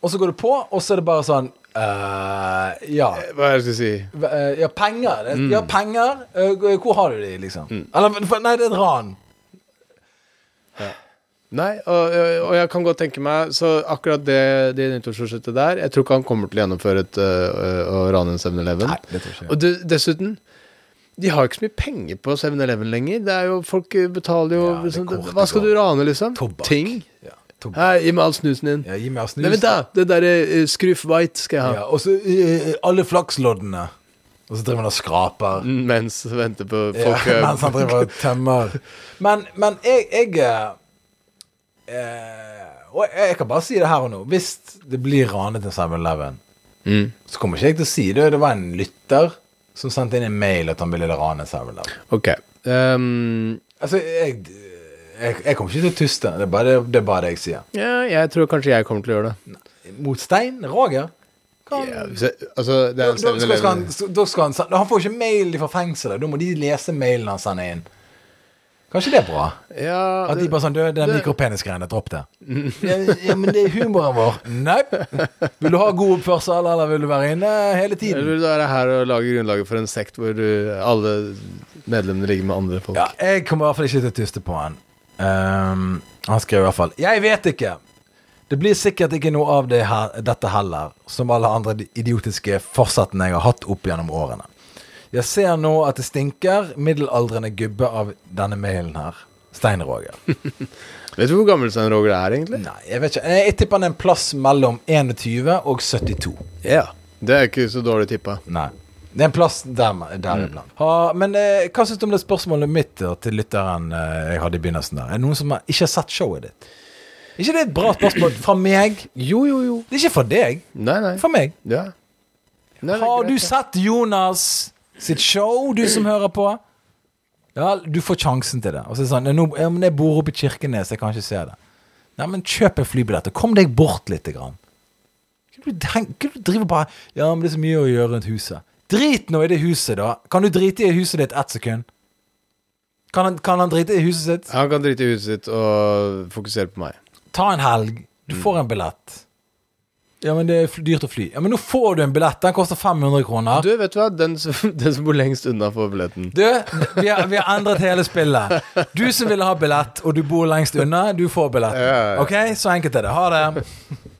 Og så går du på, og så er det bare sånn eh, Ja.
Hva er det jeg skal si?
Eh, Ja, penger. Det- Ja, penger. Eh, Hvor har du de, liksom? Eller, for- nei, det er et ran.
Nei, og, eh, og- og jeg kan godt tenke meg Så akkurat det, det nyttårsforsettet der Jeg tror ikke han kommer til å gjennomføre et øh, øh, å rane en 7-Eleven.
Nei, det tror jeg ikke.
Og du, dessuten De har jo ikke så mye penger på 7-Eleven lenger. Det er jo, folk øh, betaler jo
Ja, det er
liksom,
kort
Hva
det
skal
går.
du rane, liksom?
Tobakk.
Ting.
Ja, tobakk.
Hei, gi meg all snusen din.
Ja, gi meg snus.
Nei, vent, da! Det derre øh, Scruff White skal jeg ha.
Ja, og så eh, alle flaksloddene. Og så driver han og skraper.
Mm, Mens jeg venter på
Ja, [LAUGHS]
folk øh,
mens han driver og tømmer. Men, men jeg, jeg eh, eh, Og jeg, jeg kan bare si det her og nå. Hvis det blir ranet en 7-Eleven,
Mm.
så kommer ikke jeg til å si det. Det var en lytter som sendte inn en mail at han ville rane en 7-Eleven.
Ok. Ehm,
Altså, jeg, jeg, jeg kommer ikke til å tuste. Det er bare det, det, er bare det jeg sier.
ja, jeg tror kanskje jeg kommer til å gjøre det.
Mot stein? Roger? Kan,
Ja, hvis jeg, altså, det
Da
er en
skal, skal
7-Eleven.
han, da skal han, sende- han får ikke mail fra fengselet. Da må de lese mailen han sender inn. Kanskje det er bra?
Ja,
At de
det-
bare sånn Du, den
det-
mikropenisgreiene, dropp det. Ja, ja, men det er humoren vår. Nei. Vil du ha god oppførsel, eller vil du være inne hele tiden?
Eller vil du være her og lage grunnlaget for en sekt hvor du, alle medlemmene ligger med andre folk?
Ja, jeg kommer i hvert fall ikke til å tyste på han. Ehm, han skrev i hvert fall Jeg vet ikke! Det blir sikkert ikke noe av det her, dette heller, som alle andre idiotiske forsettene jeg har hatt opp gjennom årene. Jeg ser nå at det stinker middelaldrende gubbe av denne mailen her. Stein [LAUGHS] Roger.
Vet du hvor gammel Svein Roger er, egentlig?
Nei, jeg vet ikke. Jeg, jeg tipper han er en plass mellom 21 og 72.
Ja.
Mm.
Det er ikke så dårlig tippa.
Nei. Det er en plass der,
Mm.
der iblant. Ha, men eh, hva syns du om det spørsmålet mitt da, til lytteren eh, jeg hadde i begynnelsen der? Er det noen som har, ikke har sett showet ditt? ikke det er et bra spørsmål fra meg?
Jo, jo, jo.
Det er ikke fra deg,
Nei,
det
nei.
er fra meg.
Ja. Nei, det er
Har
greit,
du
ja.
sett Jonas sitt show, du som hører på? Ja, du får sjansen til det. Og så er det sånn, nå, ja, men jeg bor oppe i Kirkenes, jeg kan ikke se det. Nei, men kjøp en flybillett, og kom deg bort litt. Grann. Kan du, heng- kan du drive bare Ja, men det er så mye å gjøre rundt huset. Drit nå i det huset, da. Kan du drite i huset ditt ett sekund? Kan han, kan han drite i huset sitt?
Han kan drite i huset sitt og fokusere på meg.
Ta en helg. Du får en billett. Ja, men det er fl- dyrt å fly. Ja, Men nå får du en billett. Den koster 500 kroner.
Du, vet du hva? Den som, [LAUGHS] den som bor lengst unna, får billetten.
Du, vi har, vi har endret hele spillet. Du som ville ha billett, og du bor lengst unna, du får billett.
ja, ja.
Ok, Så enkelt er det. Ha det.